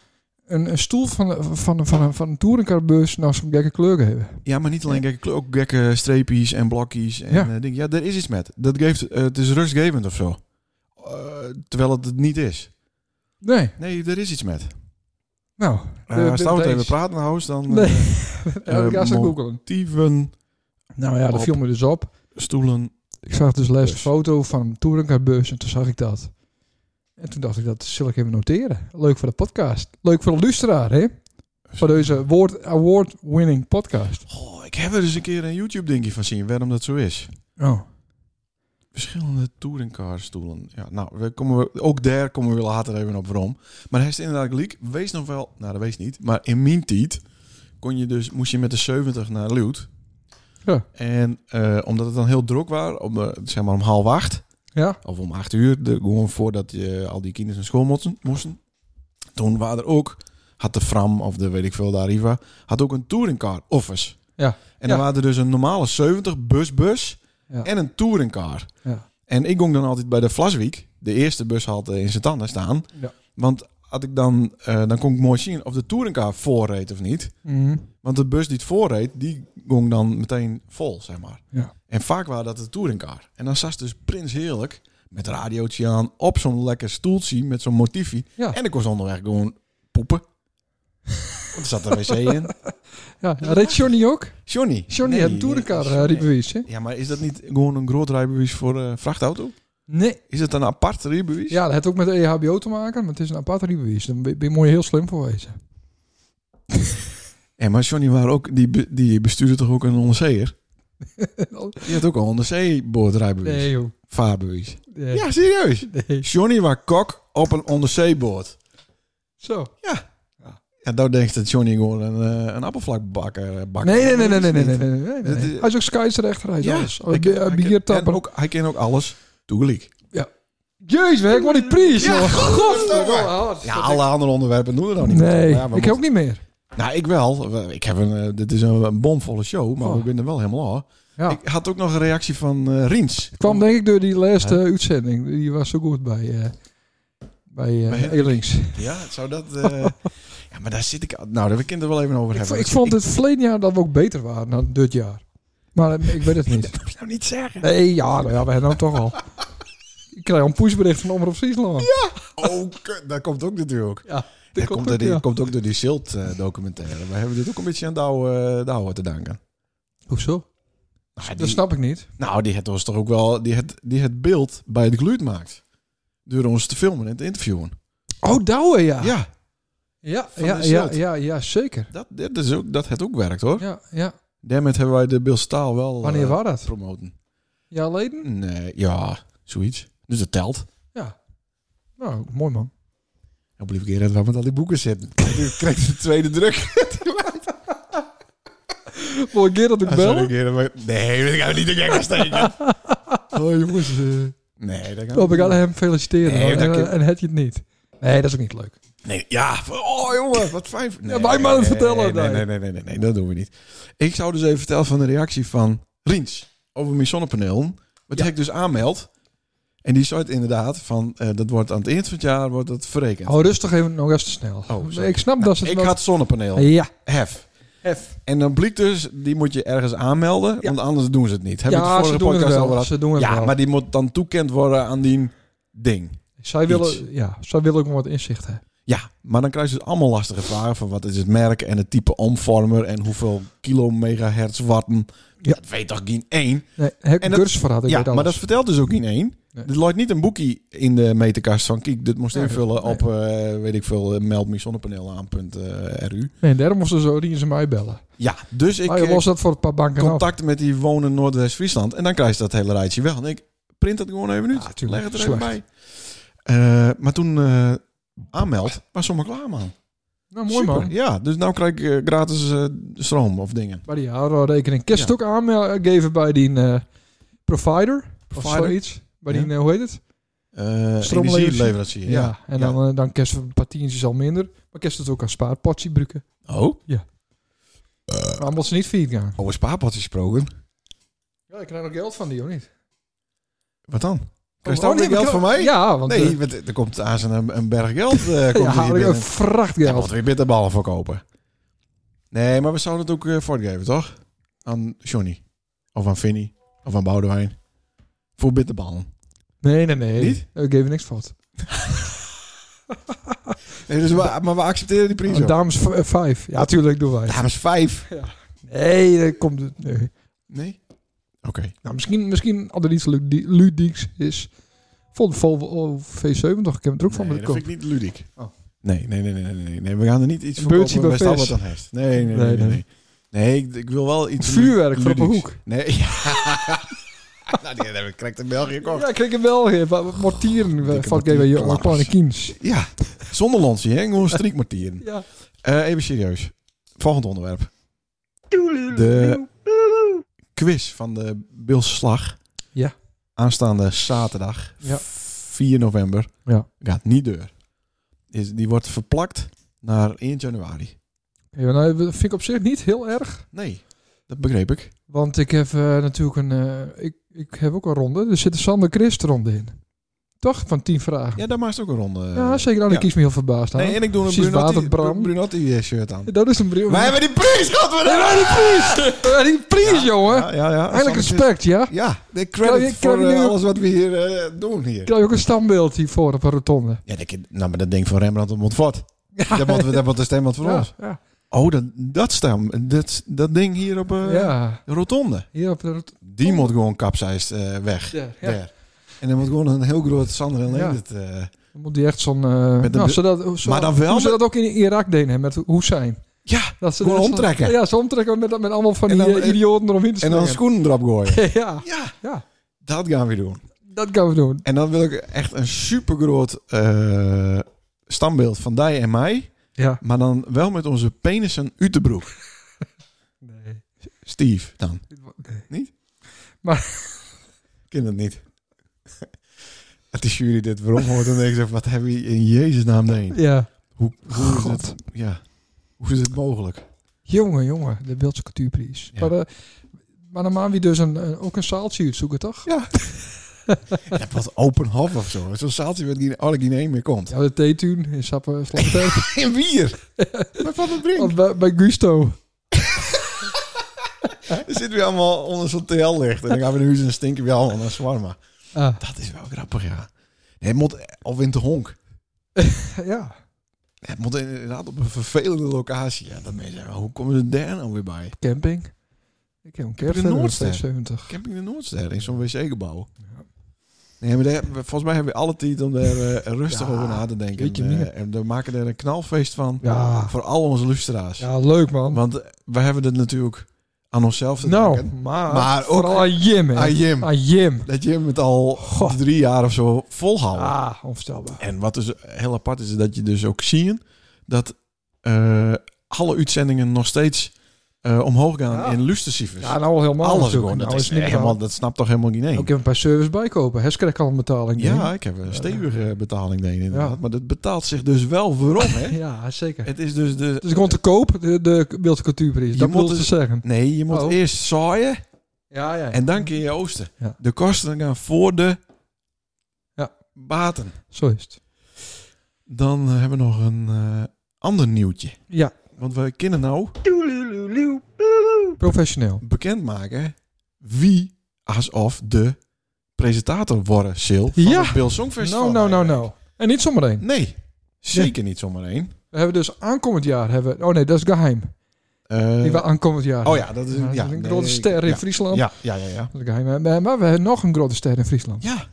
Speaker 2: een, een stoel van, van, van, van, van een touringcarbus nou zo'n gekke kleur hebben?
Speaker 1: Ja, maar niet alleen gekke kleur, ook gekke streepjes en blokjes en
Speaker 2: Ja.
Speaker 1: ja. dingen. Ja, er is iets met. Dat geeft, eh, het is rustgevend of zo. Eh, terwijl het het niet is.
Speaker 2: Nee.
Speaker 1: Nee, er is iets met.
Speaker 2: Nou,
Speaker 1: Eh
Speaker 2: de-
Speaker 1: staan we
Speaker 2: deze.
Speaker 1: even praten, House, dan
Speaker 2: Nee.
Speaker 1: eh,
Speaker 2: elke keer als ik
Speaker 1: mo-
Speaker 2: googelen.
Speaker 1: tieven,
Speaker 2: Nou ja,
Speaker 1: Op.
Speaker 2: dat viel me dus op.
Speaker 1: stoelen.
Speaker 2: Ik zag dus laatst een
Speaker 1: Bus.
Speaker 2: foto van een touringcarbus en toen zag ik dat. En toen dacht ik, dat zal ik even noteren. Leuk voor de podcast. Leuk voor de luisteraar, hè? Voor deze woord- award-winning podcast.
Speaker 1: Goh, Oh, ik heb er eens een keer een YouTube-dingje van zien, waarom dat zo is.
Speaker 2: Oh,
Speaker 1: Verschillende touringcarstoelen. Ja, nou, we komen we, ook daar komen we later even op waarom. Maar hij is inderdaad gelijk. Wees nog wel, nou dat wees niet, maar in mijn tijd kon je dus, moest je met de 70 naar Leeuwarden.
Speaker 2: Ja.
Speaker 1: En eh, omdat het dan heel druk was, om, eh, zeg maar om half acht,
Speaker 2: ja?
Speaker 1: of om acht uur, de, gewoon voordat je al die kinderen naar school moesten, moesten. Toen waren er ook, had de Fram of de weet ik veel, de Arriva, had ook een touringcar office.
Speaker 2: Ja.
Speaker 1: En dan
Speaker 2: Ja.
Speaker 1: waren er dus een normale 70 busbus
Speaker 2: Ja.
Speaker 1: en een touringcar.
Speaker 2: Ja.
Speaker 1: En ik ging dan altijd bij de Vlaswijk, de eerste bus had eh, in zijn tanden staan.
Speaker 2: Ja.
Speaker 1: Want had ik dan, eh, dan kon ik mooi zien of de touringcar voorreed of niet.
Speaker 2: Mhm.
Speaker 1: Want de bus die het voorreed, die ging dan meteen vol, zeg maar.
Speaker 2: Ja.
Speaker 1: En vaak waren dat de touringcar. En dan zat dus Prins Heerlijk met radiootje aan op zo'n lekker stoeltje met zo'n motiefie.
Speaker 2: Ja.
Speaker 1: En ik was onderweg gewoon poepen. Want er zat een wc in.
Speaker 2: Ja, reed Johnny ook?
Speaker 1: Johnny.
Speaker 2: Johnny had een touringcar eh,
Speaker 1: Johnny.
Speaker 2: rijbewijs, hè?
Speaker 1: Ja, maar is dat niet gewoon een groot rijbewijs voor eh vrachtauto?
Speaker 2: Nee.
Speaker 1: Is het een apart rijbewijs?
Speaker 2: Ja, dat heeft ook met E de EHBO te maken, maar het is een apart rijbewijs. Dan ben ben je mooi heel slim voor wezen.
Speaker 1: En maar Johnny waren ook, die, be- die bestuurde toch ook een onderzeeër? Die had ook een onderzeeboordrijbewijs.
Speaker 2: Nee, joh.
Speaker 1: Vaarbewijs.
Speaker 2: Nee.
Speaker 1: Ja, serieus.
Speaker 2: Nee.
Speaker 1: Johnny was kok op een onderzeeboord.
Speaker 2: Zo.
Speaker 1: Ja, nou denkt dat Johnny gewoon een, eh een appelvlakbakker bakker.
Speaker 2: Nee, nee, nee, nee,
Speaker 1: Dat is
Speaker 2: nee, nee,
Speaker 1: niet.
Speaker 2: nee, Oh, nee, nee, nee.
Speaker 1: Dat is-
Speaker 2: Hij is ook scheidsrechter, hij is
Speaker 1: Ja,
Speaker 2: alles.
Speaker 1: hij
Speaker 2: Hij
Speaker 1: ken- hij ken- en
Speaker 2: biertapper.
Speaker 1: ook, hij kent ook alles. Toegelijk.
Speaker 2: Jezus, ik word die prijs,
Speaker 1: Ja,
Speaker 2: joh.
Speaker 1: godverdomme.
Speaker 2: God.
Speaker 1: Ja, alle andere onderwerpen doen we nou niet
Speaker 2: Nee,
Speaker 1: meer. Ja, we
Speaker 2: ik
Speaker 1: moeten-
Speaker 2: ook niet meer.
Speaker 1: Nou, ik wel. We- Ik heb een, eh, dit is een, een bomvolle show, maar
Speaker 2: Oh.
Speaker 1: we zijn er wel helemaal aan.
Speaker 2: Ja.
Speaker 1: Ik had ook nog een reactie van eh Riens.
Speaker 2: Ik kwam denk ik door die laatste uitzending. Die was zo goed bij, eh bij, eh
Speaker 1: Bij Hendrik.
Speaker 2: Eelings.
Speaker 1: Ja, zou dat... eh, ja, maar daar zit ik... al- Nou, daar we kunnen het er wel even over
Speaker 2: Ik,
Speaker 1: hebben.
Speaker 2: vo- ik vond het verleden jaar dat we ook beter waren dan dit jaar. Maar eh, ik weet het niet.
Speaker 1: Dat moet ik nou niet zeggen.
Speaker 2: Nee, ja, nou ja, we hebben hem toch al. Ik krijg een pushbericht van Omroep Friesland. Ja,
Speaker 1: Oh, kut, dat komt ook natuurlijk.
Speaker 2: dat
Speaker 1: Dat komt,
Speaker 2: ook,
Speaker 1: door die,
Speaker 2: ja.
Speaker 1: komt ook door die Silt-documentaire. We hebben dit ook een beetje aan Douwe, eh, Douwe te danken.
Speaker 2: Hoezo?
Speaker 1: Nou, die,
Speaker 2: Dat snap ik niet.
Speaker 1: nou, die het ons toch ook wel... Die het, die het beeld bij het geluid maakt. Door ons te filmen en te interviewen.
Speaker 2: Oh, Douwe, ja.
Speaker 1: Ja,
Speaker 2: Ja,
Speaker 1: Van
Speaker 2: ja,
Speaker 1: de
Speaker 2: ja,
Speaker 1: Zelt.
Speaker 2: ja, ja, zeker.
Speaker 1: dat, dat, is ook, dat het ook werkt hoor.
Speaker 2: Ja, ja.
Speaker 1: Daarmee hebben wij de Beeldstaal wel
Speaker 2: Wanneer
Speaker 1: eh,
Speaker 2: was dat?
Speaker 1: promoten.
Speaker 2: Ja, leden?
Speaker 1: Nee, ja, zoiets. Dus dat telt.
Speaker 2: Nou, mooi man.
Speaker 1: En blijf Gerard waar met al die boeken zitten. Nu krijgt de tweede druk.
Speaker 2: Wil ik dat ik
Speaker 1: Ah,
Speaker 2: bel?
Speaker 1: sorry, Gerard, maar- Nee, dat gaan we niet de gek steken.
Speaker 2: Oh jongens.
Speaker 1: Nee, dat gaan we
Speaker 2: Oh,
Speaker 1: niet
Speaker 2: ik ga
Speaker 1: doen.
Speaker 2: hem feliciteren.
Speaker 1: Nee,
Speaker 2: en,
Speaker 1: dank je.
Speaker 2: en het je het niet. Nee, dat is ook niet leuk.
Speaker 1: Nee, ja. Oh jongen, wat fijn. Nee,
Speaker 2: wij maar het vertellen,
Speaker 1: Nee, nee,
Speaker 2: nee.
Speaker 1: nee, nee, nee, nee, dat doen we niet. Ik zou dus even vertellen van de reactie van Riens over mijn zonnepaneel. Wat ik dus aanmeld. En die zei het inderdaad van, eh, dat wordt aan het eind van het jaar wordt dat verrekend.
Speaker 2: Hou rustig even nog eens te snel.
Speaker 1: Oh, sorry.
Speaker 2: ik snap Oh, dat ze het
Speaker 1: ik
Speaker 2: wel-
Speaker 1: had zonnepaneel.
Speaker 2: Ja.
Speaker 1: Hef.
Speaker 2: F.
Speaker 1: En dan blijkt dus, die moet je ergens aanmelden, want anders doen ze het niet. Hebben we
Speaker 2: Ja,
Speaker 1: het
Speaker 2: ze
Speaker 1: vorige
Speaker 2: doen het
Speaker 1: podcast al
Speaker 2: wel.
Speaker 1: gehad?
Speaker 2: Ze doen het
Speaker 1: Ja,
Speaker 2: wel.
Speaker 1: maar die moet dan toekend worden aan die ding.
Speaker 2: zij,
Speaker 1: iets.
Speaker 2: willen, ja, zij willen ook nog wat inzicht hebben.
Speaker 1: Ja, maar dan krijg je dus allemaal lastige vragen van wat is het merk en het type omvormer en hoeveel kilo megahertz watten.
Speaker 2: Ja.
Speaker 1: Dat weet toch geen één?
Speaker 2: Nee, heb
Speaker 1: En
Speaker 2: ik
Speaker 1: dat-
Speaker 2: cursus voor had, ik
Speaker 1: ja,
Speaker 2: weet alles.
Speaker 1: maar dat vertelt dus ook geen één.
Speaker 2: Nee.
Speaker 1: Er loopt niet een boekje in de meterkast van kijk, dit moest
Speaker 2: Nee,
Speaker 1: invullen
Speaker 2: nee.
Speaker 1: op, eh, weet ik veel, eh, meld me zonnepaneel aan, punt, eh, RU.
Speaker 2: Nee, daarom moesten ze Rien ze mij bellen.
Speaker 1: Ja, dus ik
Speaker 2: maar je
Speaker 1: eh,
Speaker 2: los dat voor een paar banken af.
Speaker 1: contact met die wonen Noordwest-Friesland en dan krijg je dat hele rijtje wel. En ik print dat gewoon even uit,
Speaker 2: Ja, tuurlijk.
Speaker 1: leg het er even bij.
Speaker 2: Slecht.
Speaker 1: Eh, maar toen eh aanmeld, was zomaar klaar man.
Speaker 2: Nou, mooi
Speaker 1: Super,
Speaker 2: man.
Speaker 1: Ja, dus nou krijg ik eh, gratis eh, stroom of dingen.
Speaker 2: Bij die rekening. Kun je het
Speaker 1: Ja.
Speaker 2: ook aangeven bij die eh, provider? Of
Speaker 1: Provider?
Speaker 2: zoiets. Bij
Speaker 1: Ja.
Speaker 2: die, eh, hoe heet het?
Speaker 1: Eh
Speaker 2: Stroomleverancier.
Speaker 1: energieleverancier.
Speaker 2: Ja,
Speaker 1: Ja.
Speaker 2: en dan, eh, dan kerst een paar tientjes al minder. Maar kerst het ook als spaarpotje gebruiken.
Speaker 1: Oh,
Speaker 2: Maar dan moet ze niet failliet gaan.
Speaker 1: over spaarpotjes gesproken.
Speaker 2: Ja, ik krijg nog geld van die, of niet?
Speaker 1: Wat dan? Krijg je
Speaker 2: Oh,
Speaker 1: ook
Speaker 2: nee,
Speaker 1: weer geld
Speaker 2: ik-
Speaker 1: van mij?
Speaker 2: Ja, want...
Speaker 1: nee,
Speaker 2: eh,
Speaker 1: want er komt aan zijn een, een berg geld. eh komt
Speaker 2: ja,
Speaker 1: er hier
Speaker 2: had ik een
Speaker 1: binnen. Ja, want
Speaker 2: vrachtgeld.
Speaker 1: weer bitterballen verkopen. Nee, maar we zouden het ook eh, voortgeven, toch? Aan Johnny. Of aan Vinnie. Of aan Boudewijn. Voor bitterballen.
Speaker 2: Nee, nee, nee.
Speaker 1: Niet?
Speaker 2: Ik geef er niks van.
Speaker 1: Nee, dus we, maar we accepteren die prijs
Speaker 2: Een
Speaker 1: ook.
Speaker 2: dames v- eh, vijf. Ja, tuurlijk doen wij. het.
Speaker 1: Dames vijf.
Speaker 2: Nee, dat komt... het- Nee.
Speaker 1: Nee? Oké.
Speaker 2: Nou, misschien, misschien als er iets ludie- ludieks is. Voor de Volvo V70, ik heb het er ook van
Speaker 1: Nee, dat
Speaker 2: bekomen.
Speaker 1: vind ik niet ludiek.
Speaker 2: Oh.
Speaker 1: Nee, nee, nee, nee, nee, nee, nee. We gaan er niet iets
Speaker 2: Een
Speaker 1: voor
Speaker 2: beurtje
Speaker 1: kopen.
Speaker 2: bij
Speaker 1: West
Speaker 2: vis.
Speaker 1: Albert aan heeft. Nee, nee, nee,
Speaker 2: Nee,
Speaker 1: nee.
Speaker 2: nee.
Speaker 1: nee. Nee, ik, ik wil wel iets
Speaker 2: Vuurwerk
Speaker 1: lu-
Speaker 2: van op een
Speaker 1: ludieks.
Speaker 2: hoek.
Speaker 1: Nee, ja. nou, die hebben we correct in België gekocht.
Speaker 2: Ja, ik kreeg hem wel. hè. Wat- wat Mortieren eh,
Speaker 1: dikke
Speaker 2: van GW Jonge
Speaker 1: mortierklappers.
Speaker 2: Panikiens.
Speaker 1: Ja, zonder lonsje, hè? Gewoon striekmartieren.
Speaker 2: Ja.
Speaker 1: Eh even serieus. Volgend onderwerp. De quiz van de Bilse Slag.
Speaker 2: Ja.
Speaker 1: Aanstaande zaterdag,
Speaker 2: Ja.
Speaker 1: 4 november.
Speaker 2: Ja.
Speaker 1: Gaat niet door. Is, die wordt verplakt naar 1 januari.
Speaker 2: Ja, nou, dat vind ik op zich niet heel erg.
Speaker 1: Nee, dat begreep ik.
Speaker 2: Want ik heb eh, natuurlijk een... eh, ik, ik heb ook een ronde. Er zit een Sander Christ ronde in. Toch? Van tien vragen. Ja,
Speaker 1: Ja, daar maakt ook een ronde.
Speaker 2: zeker. Nou, ik
Speaker 1: Eh, ja.
Speaker 2: kies me heel verbaasd aan.
Speaker 1: nee, en ik doe een
Speaker 2: Precies,
Speaker 1: Brunotti,
Speaker 2: Waterbram.
Speaker 1: Brunotti shirt aan.
Speaker 2: Dat is een bril.
Speaker 1: Wij hebben die prijs,
Speaker 2: Nee,
Speaker 1: godverdomme!
Speaker 2: maar die prijs! Maar die prijs, jongen!
Speaker 1: Ja, ja, ja.
Speaker 2: Eigenlijk
Speaker 1: Soms is-
Speaker 2: respect, ja?
Speaker 1: Ja, de
Speaker 2: Kan je-
Speaker 1: credit
Speaker 2: kan
Speaker 1: voor
Speaker 2: je
Speaker 1: eh,
Speaker 2: nu-
Speaker 1: alles wat we hier eh, doen hier.
Speaker 2: Krijg je ook een standbeeld hiervoor op een rotonde?
Speaker 1: Ja, dat, kind- nou, maar dat ding van Rembrandt op Montfort. Dat wordt dat wordt de stem wat voor
Speaker 2: Ja,
Speaker 1: ons.
Speaker 2: ja.
Speaker 1: Oh, dat, dat stem. Dat, dat ding hier op eh,
Speaker 2: ja,
Speaker 1: de rotonde.
Speaker 2: hier op de rotonde.
Speaker 1: Die moet gewoon kapseist eh, weg.
Speaker 2: Ja,
Speaker 1: Daar. En dan moet gewoon een heel groot Sander en
Speaker 2: Ja.
Speaker 1: Leendert, eh,
Speaker 2: Dan moet die echt zo'n... eh,
Speaker 1: Met de
Speaker 2: nou,
Speaker 1: bu-
Speaker 2: zodat, zo,
Speaker 1: Maar dan wel
Speaker 2: Hoe ze
Speaker 1: met-
Speaker 2: dat ook in Irak deden, hè, met Hussein.
Speaker 1: Ja,
Speaker 2: Dat ze
Speaker 1: gewoon
Speaker 2: dus-
Speaker 1: omtrekken.
Speaker 2: Ja, ze omtrekken met, met allemaal van
Speaker 1: En
Speaker 2: die
Speaker 1: dan-
Speaker 2: eh, idioten eromheen te
Speaker 1: en dan
Speaker 2: springen.
Speaker 1: schoenen erop gooien.
Speaker 2: ja,
Speaker 1: Ja,
Speaker 2: ja,
Speaker 1: dat gaan we doen.
Speaker 2: dat gaan we doen.
Speaker 1: En dan wil ik echt een supergroot eh standbeeld van Dij en mij.
Speaker 2: Ja.
Speaker 1: Maar dan wel met onze penissen uit de broek.
Speaker 2: Nee.
Speaker 1: Steve dan. Niet?
Speaker 2: Maar,
Speaker 1: Ik ken dat niet. Het is jury dit waarom hoort en ik zeg, wat heb je in Jezus naam deed?
Speaker 2: ja.
Speaker 1: Hoe, hoe is
Speaker 2: God.
Speaker 1: het? Ja. Hoe is het mogelijk?
Speaker 2: Jongen, jongen, de Beeldse Cultuurprijs.
Speaker 1: Ja.
Speaker 2: Maar, eh, maar dan maken we dus een, een- ook een zaaltje uitzoeken, toch?
Speaker 1: Ja. ja wat open hof of zo. Zo'n zaaltje waar geen- alle Guinea meer komt.
Speaker 2: Ja, de theetuin in eh, Sappen Slagberg.
Speaker 1: En bier. Maar van de brink.
Speaker 2: bij, bij Gusto.
Speaker 1: Dan zitten we allemaal onder zo'n TL-licht. En dan gaan we naar huis en dan stinken we allemaal naar zwarma.
Speaker 2: Ah,
Speaker 1: Dat is wel grappig, ja. Nee, het moet, of in de honk.
Speaker 2: ja,
Speaker 1: Het moet inderdaad op een vervelende locatie. Ja, dan ben je zeggen, hoe komen ze daar nou weer bij?
Speaker 2: camping. Ik heb een
Speaker 1: heb
Speaker 2: kerst
Speaker 1: de Noordster.
Speaker 2: 70.
Speaker 1: Camping de Noordster in zo'n wc-gebouw. Nee, maar daar, volgens mij hebben we alle tijd om daar eh, rustig
Speaker 2: Ja,
Speaker 1: over na te denken.
Speaker 2: weet je
Speaker 1: En, eh,
Speaker 2: meer.
Speaker 1: en we maken er een knalfeest van
Speaker 2: Ja.
Speaker 1: voor al onze lustra's.
Speaker 2: Ja, leuk man.
Speaker 1: Want eh, we hebben het natuurlijk aan onszelf te
Speaker 2: nou,
Speaker 1: denken.
Speaker 2: maar,
Speaker 1: Maar ook-
Speaker 2: vooral aan Jim, hè.
Speaker 1: Aan Jim.
Speaker 2: Aan Jim.
Speaker 1: Dat je hem het al drie jaar of zo volhouden.
Speaker 2: Ah, onvoorstelbaar.
Speaker 1: En wat dus heel apart is, is dat je dus ook ziet dat eh, alle uitzendingen nog steeds eh, omhoog gaan
Speaker 2: Ja.
Speaker 1: in lustercijfers.
Speaker 2: Ja, nou al helemaal
Speaker 1: Alles
Speaker 2: natuurlijk.
Speaker 1: gewoon. Dat,
Speaker 2: Nou
Speaker 1: is
Speaker 2: niks
Speaker 1: helemaal,
Speaker 2: aan.
Speaker 1: dat snapt toch helemaal niet nee.
Speaker 2: Ook even een paar service bijkopen. Hes krijgt al een betaling.
Speaker 1: Ja,
Speaker 2: denk
Speaker 1: ik heb een stevige betaling deed inderdaad.
Speaker 2: Ja.
Speaker 1: Maar dat betaalt zich dus wel voorom,
Speaker 2: ik.
Speaker 1: hè?
Speaker 2: Ja, zeker.
Speaker 1: Het is dus de...
Speaker 2: Het is gewoon te koop, de, de Beeldse Cultuurprijs.
Speaker 1: Je
Speaker 2: Dat
Speaker 1: moet
Speaker 2: moet ze
Speaker 1: dus-
Speaker 2: zeggen.
Speaker 1: Nee, je moet
Speaker 2: Oh.
Speaker 1: eerst zaaien
Speaker 2: Ja, ja.
Speaker 1: en dan kun je oosten.
Speaker 2: Ja.
Speaker 1: De kosten gaan voor de
Speaker 2: Ja.
Speaker 1: baten.
Speaker 2: Zo is het.
Speaker 1: Dan hebben we nog een eh, ander nieuwtje.
Speaker 2: Ja,
Speaker 1: Want we kunnen nou
Speaker 2: professioneel.
Speaker 1: bekendmaken wie alsof de presentator worden Sil van
Speaker 2: Ja.
Speaker 1: het Bill Songfestival.
Speaker 2: Nou, nou, nou, nou. En niet zomaar één.
Speaker 1: Nee, zeker niet zomaar één.
Speaker 2: We hebben dus aankomend jaar hebben. Oh nee, dat is geheim.
Speaker 1: Eh,
Speaker 2: Die we aankomend jaar.
Speaker 1: oh ja, dat is... Ja,
Speaker 2: hebben. Dat is een
Speaker 1: nee,
Speaker 2: grote
Speaker 1: nee,
Speaker 2: ster in
Speaker 1: ja.
Speaker 2: Friesland.
Speaker 1: Ja, ja, ja, ja.
Speaker 2: Dat is geheim. Maar- Maar we hebben nog een grote ster in Friesland.
Speaker 1: Ja.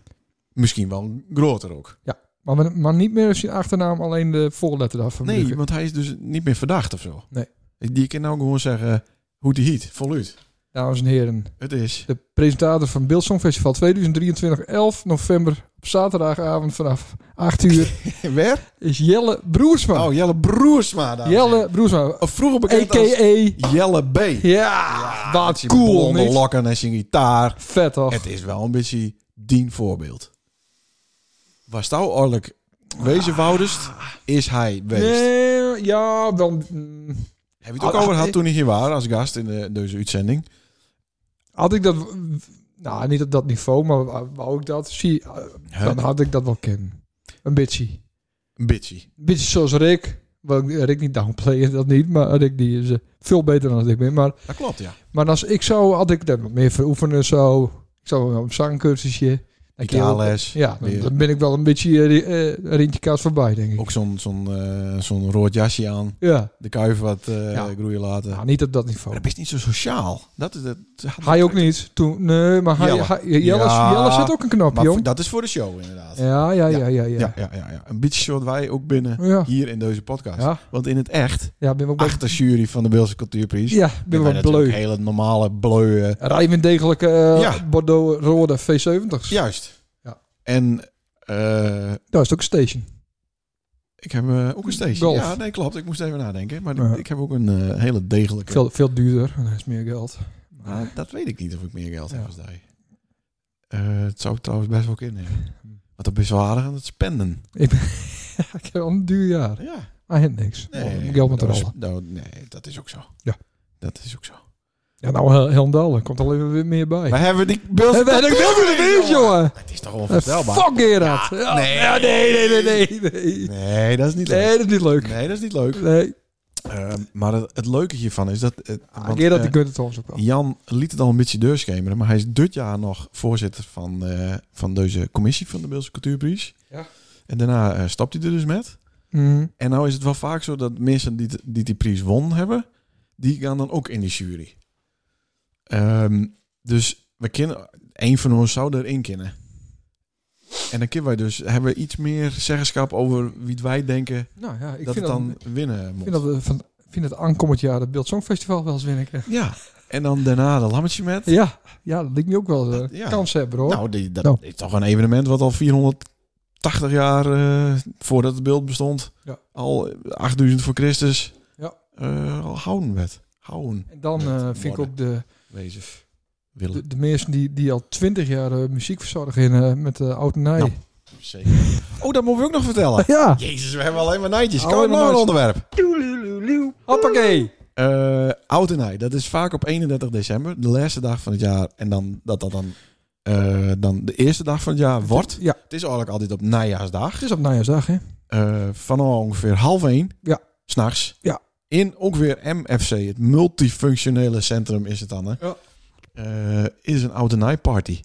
Speaker 1: Misschien wel groter ook.
Speaker 2: Maar, we- maar niet meer zijn achternaam, alleen de voorletter daarvan.
Speaker 1: Nee,
Speaker 2: gebruiken.
Speaker 1: want hij is dus niet meer verdacht of zo.
Speaker 2: Nee.
Speaker 1: Die kan nou gewoon zeggen hoe die heet, voluut.
Speaker 2: Dames en heren,
Speaker 1: Het is.
Speaker 2: de presentator van Beeld Songfestival 2023, 11 november, op zaterdagavond vanaf 8 uur,
Speaker 1: Wer?
Speaker 2: is Jelle Broersma.
Speaker 1: Oh, Jelle Broersma. dames en heren.
Speaker 2: Jelle Broersma,
Speaker 1: Of vroeger bekend als
Speaker 2: a.k.a.
Speaker 1: Jelle B.
Speaker 2: Ja,
Speaker 1: Met
Speaker 2: wat
Speaker 1: zijn
Speaker 2: cool,
Speaker 1: blonde
Speaker 2: niet?
Speaker 1: lokken en zijn gitaar.
Speaker 2: Vet toch?
Speaker 1: Het is wel een beetje dien voorbeeld. Was nou oorlijk wezenvoudest, is hij geweest.
Speaker 2: Ah. Nee, ja, dan... mm,
Speaker 1: Heb je het ook
Speaker 2: Ah,
Speaker 1: over
Speaker 2: ik-
Speaker 1: gehad toen hij hier was als gast in de, deze uitzending?
Speaker 2: Had ik dat... Nou, niet op dat niveau, maar wou- wou ik dat? Zie, eh,
Speaker 1: Hè?
Speaker 2: dan had ik dat wel kennen. Een bitchie.
Speaker 1: Een bitchie.
Speaker 2: Een beetje zoals Rick. Wel, Rick niet downplayen, dat niet. Maar Rick die is eh, veel beter dan dat ik ben. Maar,
Speaker 1: Dat klopt, ja.
Speaker 2: maar als ik zou, had ik dat wat meer veroefenen zo. Ik zou wel een zangcursusje. Dan kun je wel-
Speaker 1: Itales.
Speaker 2: Ja, dan,
Speaker 1: Weer.
Speaker 2: dan ben ik wel een beetje eh eh, een rintje kaas voorbij, denk ik.
Speaker 1: Ook zo'n zo'n eh, zo'n rood jasje aan.
Speaker 2: Ja,
Speaker 1: De kuif wat eh,
Speaker 2: Ja.
Speaker 1: groeien laten.
Speaker 2: nou, niet op dat
Speaker 1: Maar
Speaker 2: niveau.
Speaker 1: dat is niet zo sociaal. Dat is, dat,
Speaker 2: Hij ook niet. Toen, nee, maar hij,
Speaker 1: Jelle.
Speaker 2: hij, Jelle,
Speaker 1: Ja.
Speaker 2: Jelle zit ook een knopje,
Speaker 1: Maar voor-
Speaker 2: jong.
Speaker 1: dat is voor de show inderdaad. Ja,
Speaker 2: Ja, ja, ja, ja. Ja,
Speaker 1: ja, ja. ja, Een beetje zoals wij ook binnen
Speaker 2: ja.
Speaker 1: hier in deze podcast.
Speaker 2: ja.
Speaker 1: Want in het echt,
Speaker 2: ja ben ik ook wel-
Speaker 1: achter jury van de Beelse Cultuurprijs,
Speaker 2: Ja, ben
Speaker 1: ben
Speaker 2: wel
Speaker 1: wij natuurlijk
Speaker 2: bleu.
Speaker 1: hele normale, bleuwe...
Speaker 2: Rijmen degelijke eh,
Speaker 1: Ja.
Speaker 2: Bordeaux rode V70's.
Speaker 1: Juist.
Speaker 2: Ja.
Speaker 1: En eh,
Speaker 2: Dat is ook een station.
Speaker 1: ik heb eh, ook een stage.
Speaker 2: Golf.
Speaker 1: Ja, nee, klopt. Ik moest even nadenken. Maar
Speaker 2: Ja.
Speaker 1: ik, ik heb ook een eh, hele degelijke...
Speaker 2: Veel, veel duurder. en Dat is meer geld.
Speaker 1: Nou, dat weet ik niet of ik meer geld heb
Speaker 2: Ja.
Speaker 1: als jij. Eh, het zou ik trouwens best wel kunnen hebben. Want dat is wel aardig aan het spenden.
Speaker 2: Ik, ben, ik heb al een duur jaar.
Speaker 1: Ja.
Speaker 2: Maar hij heeft niks. Oh,
Speaker 1: Nee,
Speaker 2: geld met de
Speaker 1: dat is-
Speaker 2: rollen.
Speaker 1: nou, nee, dat is ook zo.
Speaker 2: Ja.
Speaker 1: Dat is ook zo.
Speaker 2: Ja, nou, heel, heel duidelijk. Komt al even weer meer bij.
Speaker 1: Maar hebben we die beeld?
Speaker 2: Hey, we hebben de beelden weer, jongen.
Speaker 1: Het is toch
Speaker 2: Eh,
Speaker 1: onvoorstelbaar?
Speaker 2: Fuck Gerard. Ja,
Speaker 1: nee.
Speaker 2: ja, nee, nee, nee, nee, nee.
Speaker 1: Nee, dat is niet
Speaker 2: Nee,
Speaker 1: leuk.
Speaker 2: dat is niet leuk.
Speaker 1: Nee, dat is niet leuk.
Speaker 2: Nee.
Speaker 1: Eh, maar het, het leuke hiervan is dat... eh,
Speaker 2: Ah,
Speaker 1: want,
Speaker 2: Gerard,
Speaker 1: eh,
Speaker 2: die kunt het ons ook wel.
Speaker 1: Jan liet het al een beetje deurschemeren, maar hij is dit jaar nog voorzitter van, eh, van deze commissie van de Beelse Cultuurprijs.
Speaker 2: Ja.
Speaker 1: En daarna eh, stapt hij er dus met.
Speaker 2: Mhm.
Speaker 1: En nou is het wel vaak zo dat mensen die t- die, die prijs won hebben, die gaan dan ook in die jury. Ehm, dus we kennen, één van ons zou erin kennen. En dan kunnen wij dus, hebben we iets meer zeggenschap over wie wij denken
Speaker 2: Nou ja, ik
Speaker 1: dat
Speaker 2: vind
Speaker 1: het
Speaker 2: dat,
Speaker 1: dan winnen
Speaker 2: ik
Speaker 1: moet.
Speaker 2: vind dat, we van, vind dat aankomend jaar het Beeld Songfestival wel eens winnen. krijgen.
Speaker 1: Ja, en dan daarna de lammetje met.
Speaker 2: Ja, ja, dat liet me ook wel eh,
Speaker 1: Dat- ja.
Speaker 2: kans hebben hoor.
Speaker 1: Nou, die, dat
Speaker 2: Nou.
Speaker 1: is toch een evenement wat al 480 jaar eh, voordat het beeld bestond,
Speaker 2: Ja.
Speaker 1: al 8000 voor Christus,
Speaker 2: Ja.
Speaker 1: eh, al houden werd. Houden.
Speaker 2: en dan
Speaker 1: met
Speaker 2: eh, vind ik
Speaker 1: worden.
Speaker 2: ook de,
Speaker 1: wezen. Willen.
Speaker 2: de, de mensen die, die al twintig jaar eh, muziek verzorgen in, eh, met de oud en Nij.
Speaker 1: Nou. Zeker. Oh, dat moeten we ook nog vertellen.
Speaker 2: Ja,
Speaker 1: Jezus, we hebben alleen maar nijtjes.
Speaker 2: Alleen
Speaker 1: Kan
Speaker 2: maar
Speaker 1: nog een
Speaker 2: nijtjes.
Speaker 1: onderwerp?
Speaker 2: hoppakee.
Speaker 1: Eh oud en nij, dat is vaak op 31 december, de laatste dag van het jaar. En dan dat dat dan, eh, dan de eerste dag van het jaar wordt.
Speaker 2: Ja,
Speaker 1: Het is eigenlijk altijd op najaarsdag.
Speaker 2: het is op najaarsdag hè.
Speaker 1: Eh van ongeveer half één.
Speaker 2: Ja.
Speaker 1: S'nachts.
Speaker 2: Ja.
Speaker 1: In ook weer MFC, het multifunctionele centrum is het dan. Hè?
Speaker 2: Ja.
Speaker 1: Eh, is een oud en nij party.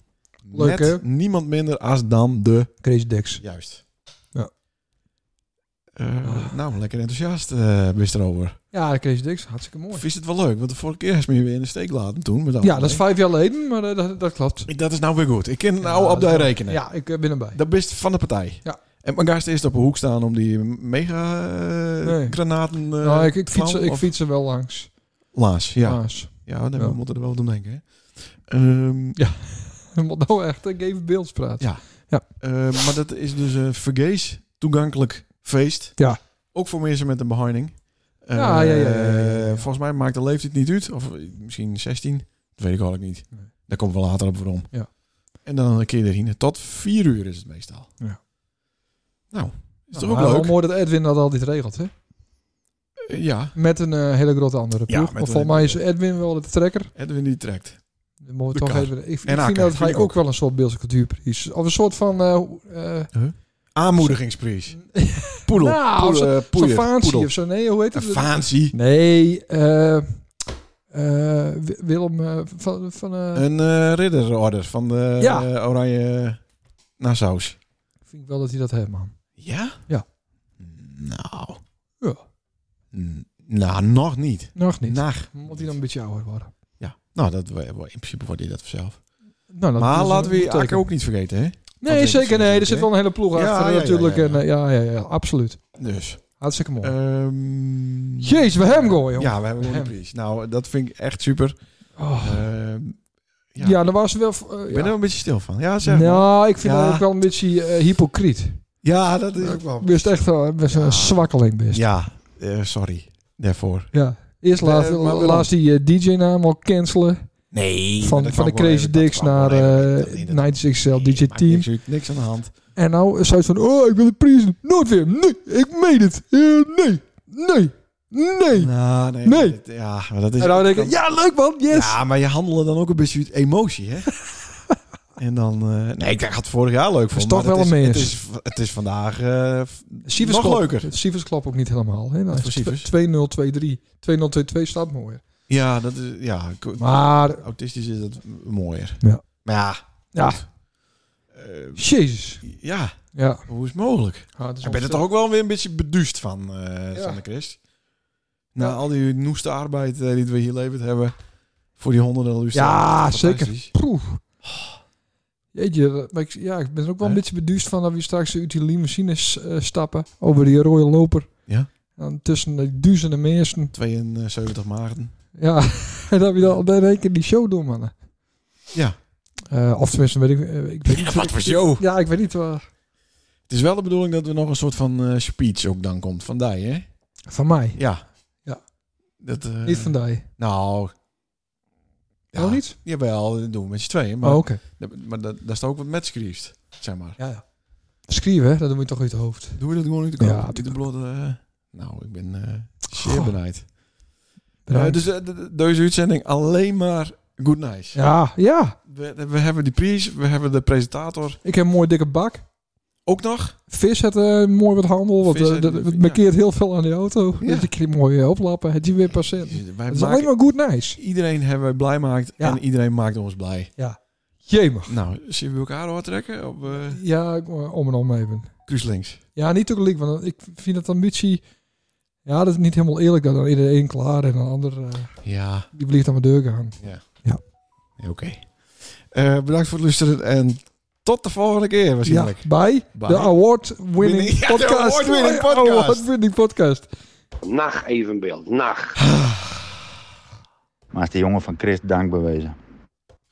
Speaker 1: Met
Speaker 2: Leuk, hè?
Speaker 1: niemand minder als dan de
Speaker 2: Crazy Dex.
Speaker 1: Juist.
Speaker 2: Ja. Ah.
Speaker 1: Eh, nou, lekker enthousiast eh bist erover.
Speaker 2: Ja, Crazy Dex, hartstikke mooi.
Speaker 1: Is het wel leuk? Want de vorige keer is me weer in de steek laten toen. Met
Speaker 2: Ja, dat is vijf jaar geleden, maar eh, dat, dat klopt.
Speaker 1: Ik- dat is nou weer goed. Ik ken nou
Speaker 2: Ja,
Speaker 1: op de
Speaker 2: dat-
Speaker 1: rekenen.
Speaker 2: Ja, ik eh, ben erbij.
Speaker 1: Dat bist van de partij.
Speaker 2: Ja.
Speaker 1: En mijn gast eerst op een hoek staan om die mega eh,
Speaker 2: Nee.
Speaker 1: granaten... eh,
Speaker 2: nou, ik, ik, fiets,
Speaker 1: knal,
Speaker 2: ik
Speaker 1: of-
Speaker 2: fiets er wel langs.
Speaker 1: Laas, ja.
Speaker 2: Maas.
Speaker 1: Ja, nee,
Speaker 2: Ja.
Speaker 1: we moeten er wel om denken. Hè. Ehm,
Speaker 2: Je moet nou echt ik even beeld praten.
Speaker 1: Ja. eh, maar dat is dus een vergees toegankelijk feest.
Speaker 2: Ja.
Speaker 1: Ook voor mensen met een behinding.
Speaker 2: Ja, ja, ja, ja, ja, ja,
Speaker 1: Eh,
Speaker 2: ja.
Speaker 1: Volgens mij maakt de leeftijd niet uit. Of eh, misschien 16. Dat weet ik eigenlijk niet.
Speaker 2: Nee.
Speaker 1: Daar komen we later op waarom.
Speaker 2: Ja.
Speaker 1: En dan een keer erin. Tot vier uur is het meestal.
Speaker 2: Ja.
Speaker 1: Nou, is toch
Speaker 2: Nou,
Speaker 1: ook
Speaker 2: wel
Speaker 1: leuk?
Speaker 2: mooi dat Edwin dat altijd regelt, hè?
Speaker 1: Eh, Ja,
Speaker 2: Met een eh, hele grote andere
Speaker 1: Ja,
Speaker 2: ploeg.
Speaker 1: met
Speaker 2: maar
Speaker 1: een-
Speaker 2: volgens mij is Edwin wel de trekker.
Speaker 1: Edwin die trekt.
Speaker 2: Dan moeten we
Speaker 1: De kar.
Speaker 2: toch even, ik, ik
Speaker 1: En
Speaker 2: vind nou
Speaker 1: hakken,
Speaker 2: dat hij
Speaker 1: vind ik
Speaker 2: ook
Speaker 1: ook.
Speaker 2: wel een soort beeldse cultuurprijs. Of een soort van... eh eh,
Speaker 1: Aanmoedigingsprijs. Poedel.
Speaker 2: Nou,
Speaker 1: Poedel,
Speaker 2: zo-
Speaker 1: eh,
Speaker 2: zo'n
Speaker 1: poeier.
Speaker 2: vaantie
Speaker 1: Poedel.
Speaker 2: of zo. Nee, hoe heet
Speaker 1: Een
Speaker 2: het?
Speaker 1: vaantie.
Speaker 2: nee, eh, eh, Wi- Willem eh, van... van eh,
Speaker 1: Een eh, ridderorder van de
Speaker 2: Ja.
Speaker 1: eh, oranje Nassau's.
Speaker 2: vind ik wel dat hij dat heeft, man.
Speaker 1: Ja?
Speaker 2: Ja.
Speaker 1: Nou.
Speaker 2: Ja.
Speaker 1: N- Nou, nog niet.
Speaker 2: Nog niet.
Speaker 1: Nog.
Speaker 2: Moet hij dan een beetje ouder worden.
Speaker 1: Ja. Nou, dat, we- we- in principe wordt hij dat vanzelf.
Speaker 2: Nou, dat
Speaker 1: maar
Speaker 2: is
Speaker 1: laten we
Speaker 2: een teken.
Speaker 1: Akker ook niet vergeten, hè?
Speaker 2: Nee,
Speaker 1: dat
Speaker 2: zeker
Speaker 1: is
Speaker 2: nee. Er
Speaker 1: natuurlijk,
Speaker 2: zit wel een hele
Speaker 1: Ja,
Speaker 2: ploeg achter
Speaker 1: ja, ja,
Speaker 2: natuurlijk.
Speaker 1: ja, ja.
Speaker 2: En, eh, Ja, ja, ja, absoluut.
Speaker 1: Dus.
Speaker 2: Hartstikke mooi.
Speaker 1: ehm,
Speaker 2: Jeez, we hebben hem gewoon, joh.
Speaker 1: Ja, we hebben gewoon de
Speaker 2: Hem.
Speaker 1: prijs. Nou, dat vind ik echt super.
Speaker 2: Oh.
Speaker 1: Ehm,
Speaker 2: ja.
Speaker 1: ja.
Speaker 2: dan was wel... eh,
Speaker 1: ik
Speaker 2: ja.
Speaker 1: ben er een beetje stil van. Ja, zeg maar.
Speaker 2: nou, ik vind
Speaker 1: Ja.
Speaker 2: dat ook wel een beetje eh, hypocriet.
Speaker 1: Ja, dat is ook wel...
Speaker 2: Ik wist echt wel, best
Speaker 1: Ja.
Speaker 2: een zwakkeling best. Ja.
Speaker 1: Ja, eh, sorry. Daarvoor.
Speaker 2: Eerst
Speaker 1: Eh,
Speaker 2: laat,
Speaker 1: maar waarom?
Speaker 2: laat die eh, DJ-naam al cancelen.
Speaker 1: Nee.
Speaker 2: van van de Crazy Dicks
Speaker 1: oh,
Speaker 2: naar eh 90 XL DJ Team.
Speaker 1: Niks, niks aan de hand.
Speaker 2: En nou zei ze van, oh, ik wil de prijzen. Nooit weer. Nee, ik meen het. Eh, nee, nee, nee.
Speaker 1: Nou, nee.
Speaker 2: Nee.
Speaker 1: maar dit- ja, maar dat is...
Speaker 2: En nou denk ik,
Speaker 1: kan-
Speaker 2: ja, leuk man, yes.
Speaker 1: Ja, maar je handelde dan ook een beetje uit emotie, hè? en dan... eh, nee, ik had het vorig jaar leuk voor.
Speaker 2: Is toch
Speaker 1: maar
Speaker 2: wel
Speaker 1: het
Speaker 2: een
Speaker 1: het
Speaker 2: mens.
Speaker 1: is, het is vandaag... eh, f-
Speaker 2: Sivers
Speaker 1: Nog
Speaker 2: klopt-
Speaker 1: leuker.
Speaker 2: het Sivers klopt ook niet helemaal. Hè? Nou,
Speaker 1: Wat voor Sivers?
Speaker 2: 2023. 2022 staat mooi.
Speaker 1: ja, dat is... Ja, ko-
Speaker 2: Maar
Speaker 1: autistisch is dat m- mooier.
Speaker 2: Ja.
Speaker 1: Maar ja...
Speaker 2: Ja.
Speaker 1: goed. Eh, eh,
Speaker 2: Jezus.
Speaker 1: ja,
Speaker 2: Ja. Ah,
Speaker 1: hoe is het mogelijk?
Speaker 2: ja
Speaker 1: Ik ben er toch ook wel weer een beetje beduust van, eh
Speaker 2: Ja.
Speaker 1: van de Christ. Na al die noeste arbeid eh, die we hier leverd hebben. Voor die honderden luisteraars.
Speaker 2: Ja,
Speaker 1: Fantastisch.
Speaker 2: zeker. Proef. Jeetje, maar ik, ja, ik ben er ook wel een
Speaker 1: Hè?
Speaker 2: beetje beduusd van dat we straks uit die limousines eh, stappen. Over die rode loper.
Speaker 1: Ja.
Speaker 2: En tussen de duizenden mensen.
Speaker 1: 72 maarten.
Speaker 2: Ja, en dat we dan dan in één keer die show doen, mannen.
Speaker 1: Ja.
Speaker 2: Eh, of tenminste, weet ik, eh, ik weet niet.
Speaker 1: Wat voor show.
Speaker 2: Ja, ik weet niet eh, waar.
Speaker 1: Het is wel de bedoeling dat er nog een soort van eh, speech ook dan komt. Van die, hè?
Speaker 2: Van mij.
Speaker 1: Ja.
Speaker 2: Ja.
Speaker 1: Dat, eh,
Speaker 2: Niet van die.
Speaker 1: Nou. Ja,
Speaker 2: Oh, niet?
Speaker 1: Jawel, dat doen we met z'n tweeën. Maar,
Speaker 2: Oh, oké.
Speaker 1: maar dat, daar staat ook wat matchgriefs, zeg maar.
Speaker 2: Ja, ja. Schreeuwen, hè? dat doe je toch uit het hoofd.
Speaker 1: Doen we dat gewoon niet?
Speaker 2: Ja,
Speaker 1: Ja. Dit de blote... eh, nou, ik ben eh zeer
Speaker 2: Goh.
Speaker 1: benijd.
Speaker 2: Bedankt.
Speaker 1: Eh, dus eh, d- d- deze uitzending alleen maar good nice.
Speaker 2: ja, ja.
Speaker 1: We, we hebben die prijs, we hebben de presentator
Speaker 2: Ik heb een mooie dikke bak.
Speaker 1: ook nog.
Speaker 2: Vis het eh, mooi wat handel, want
Speaker 1: Vis
Speaker 2: eh,
Speaker 1: het-
Speaker 2: dat- het
Speaker 1: ja.
Speaker 2: markeert heel veel aan die auto.
Speaker 1: Ja.
Speaker 2: Dus je kunt mooi eh, oplappen, het je weer passeren.
Speaker 1: Wij
Speaker 2: Het is alleen
Speaker 1: maken,
Speaker 2: maar goed nice.
Speaker 1: Iedereen hebben wij blij gemaakt
Speaker 2: Ja.
Speaker 1: en iedereen maakt ons blij.
Speaker 2: Jemig.
Speaker 1: Nou, zien we elkaar doortrekken op eh
Speaker 2: Ja, ik moet om en om even.
Speaker 1: Cruise Links?
Speaker 2: Ja, niet ook liek, want eh, ik vind dat ambitie... Ja, dat is niet helemaal eerlijk dat dan iedereen klaar en een ander eh,
Speaker 1: Ja,
Speaker 2: die blijft aan mijn deur gaan.
Speaker 1: oké. Eh, bedankt voor het luisteren en tot de volgende keer waarschijnlijk.
Speaker 2: Ja, bij
Speaker 1: Bij-
Speaker 2: de award-winning
Speaker 1: Winning- Ja, de
Speaker 2: podcast.
Speaker 1: award-winning podcast.
Speaker 2: Award-winning podcast.
Speaker 6: Nacht evenbeeld, nacht.
Speaker 7: Maar is de jongen van Christ dankbewezen.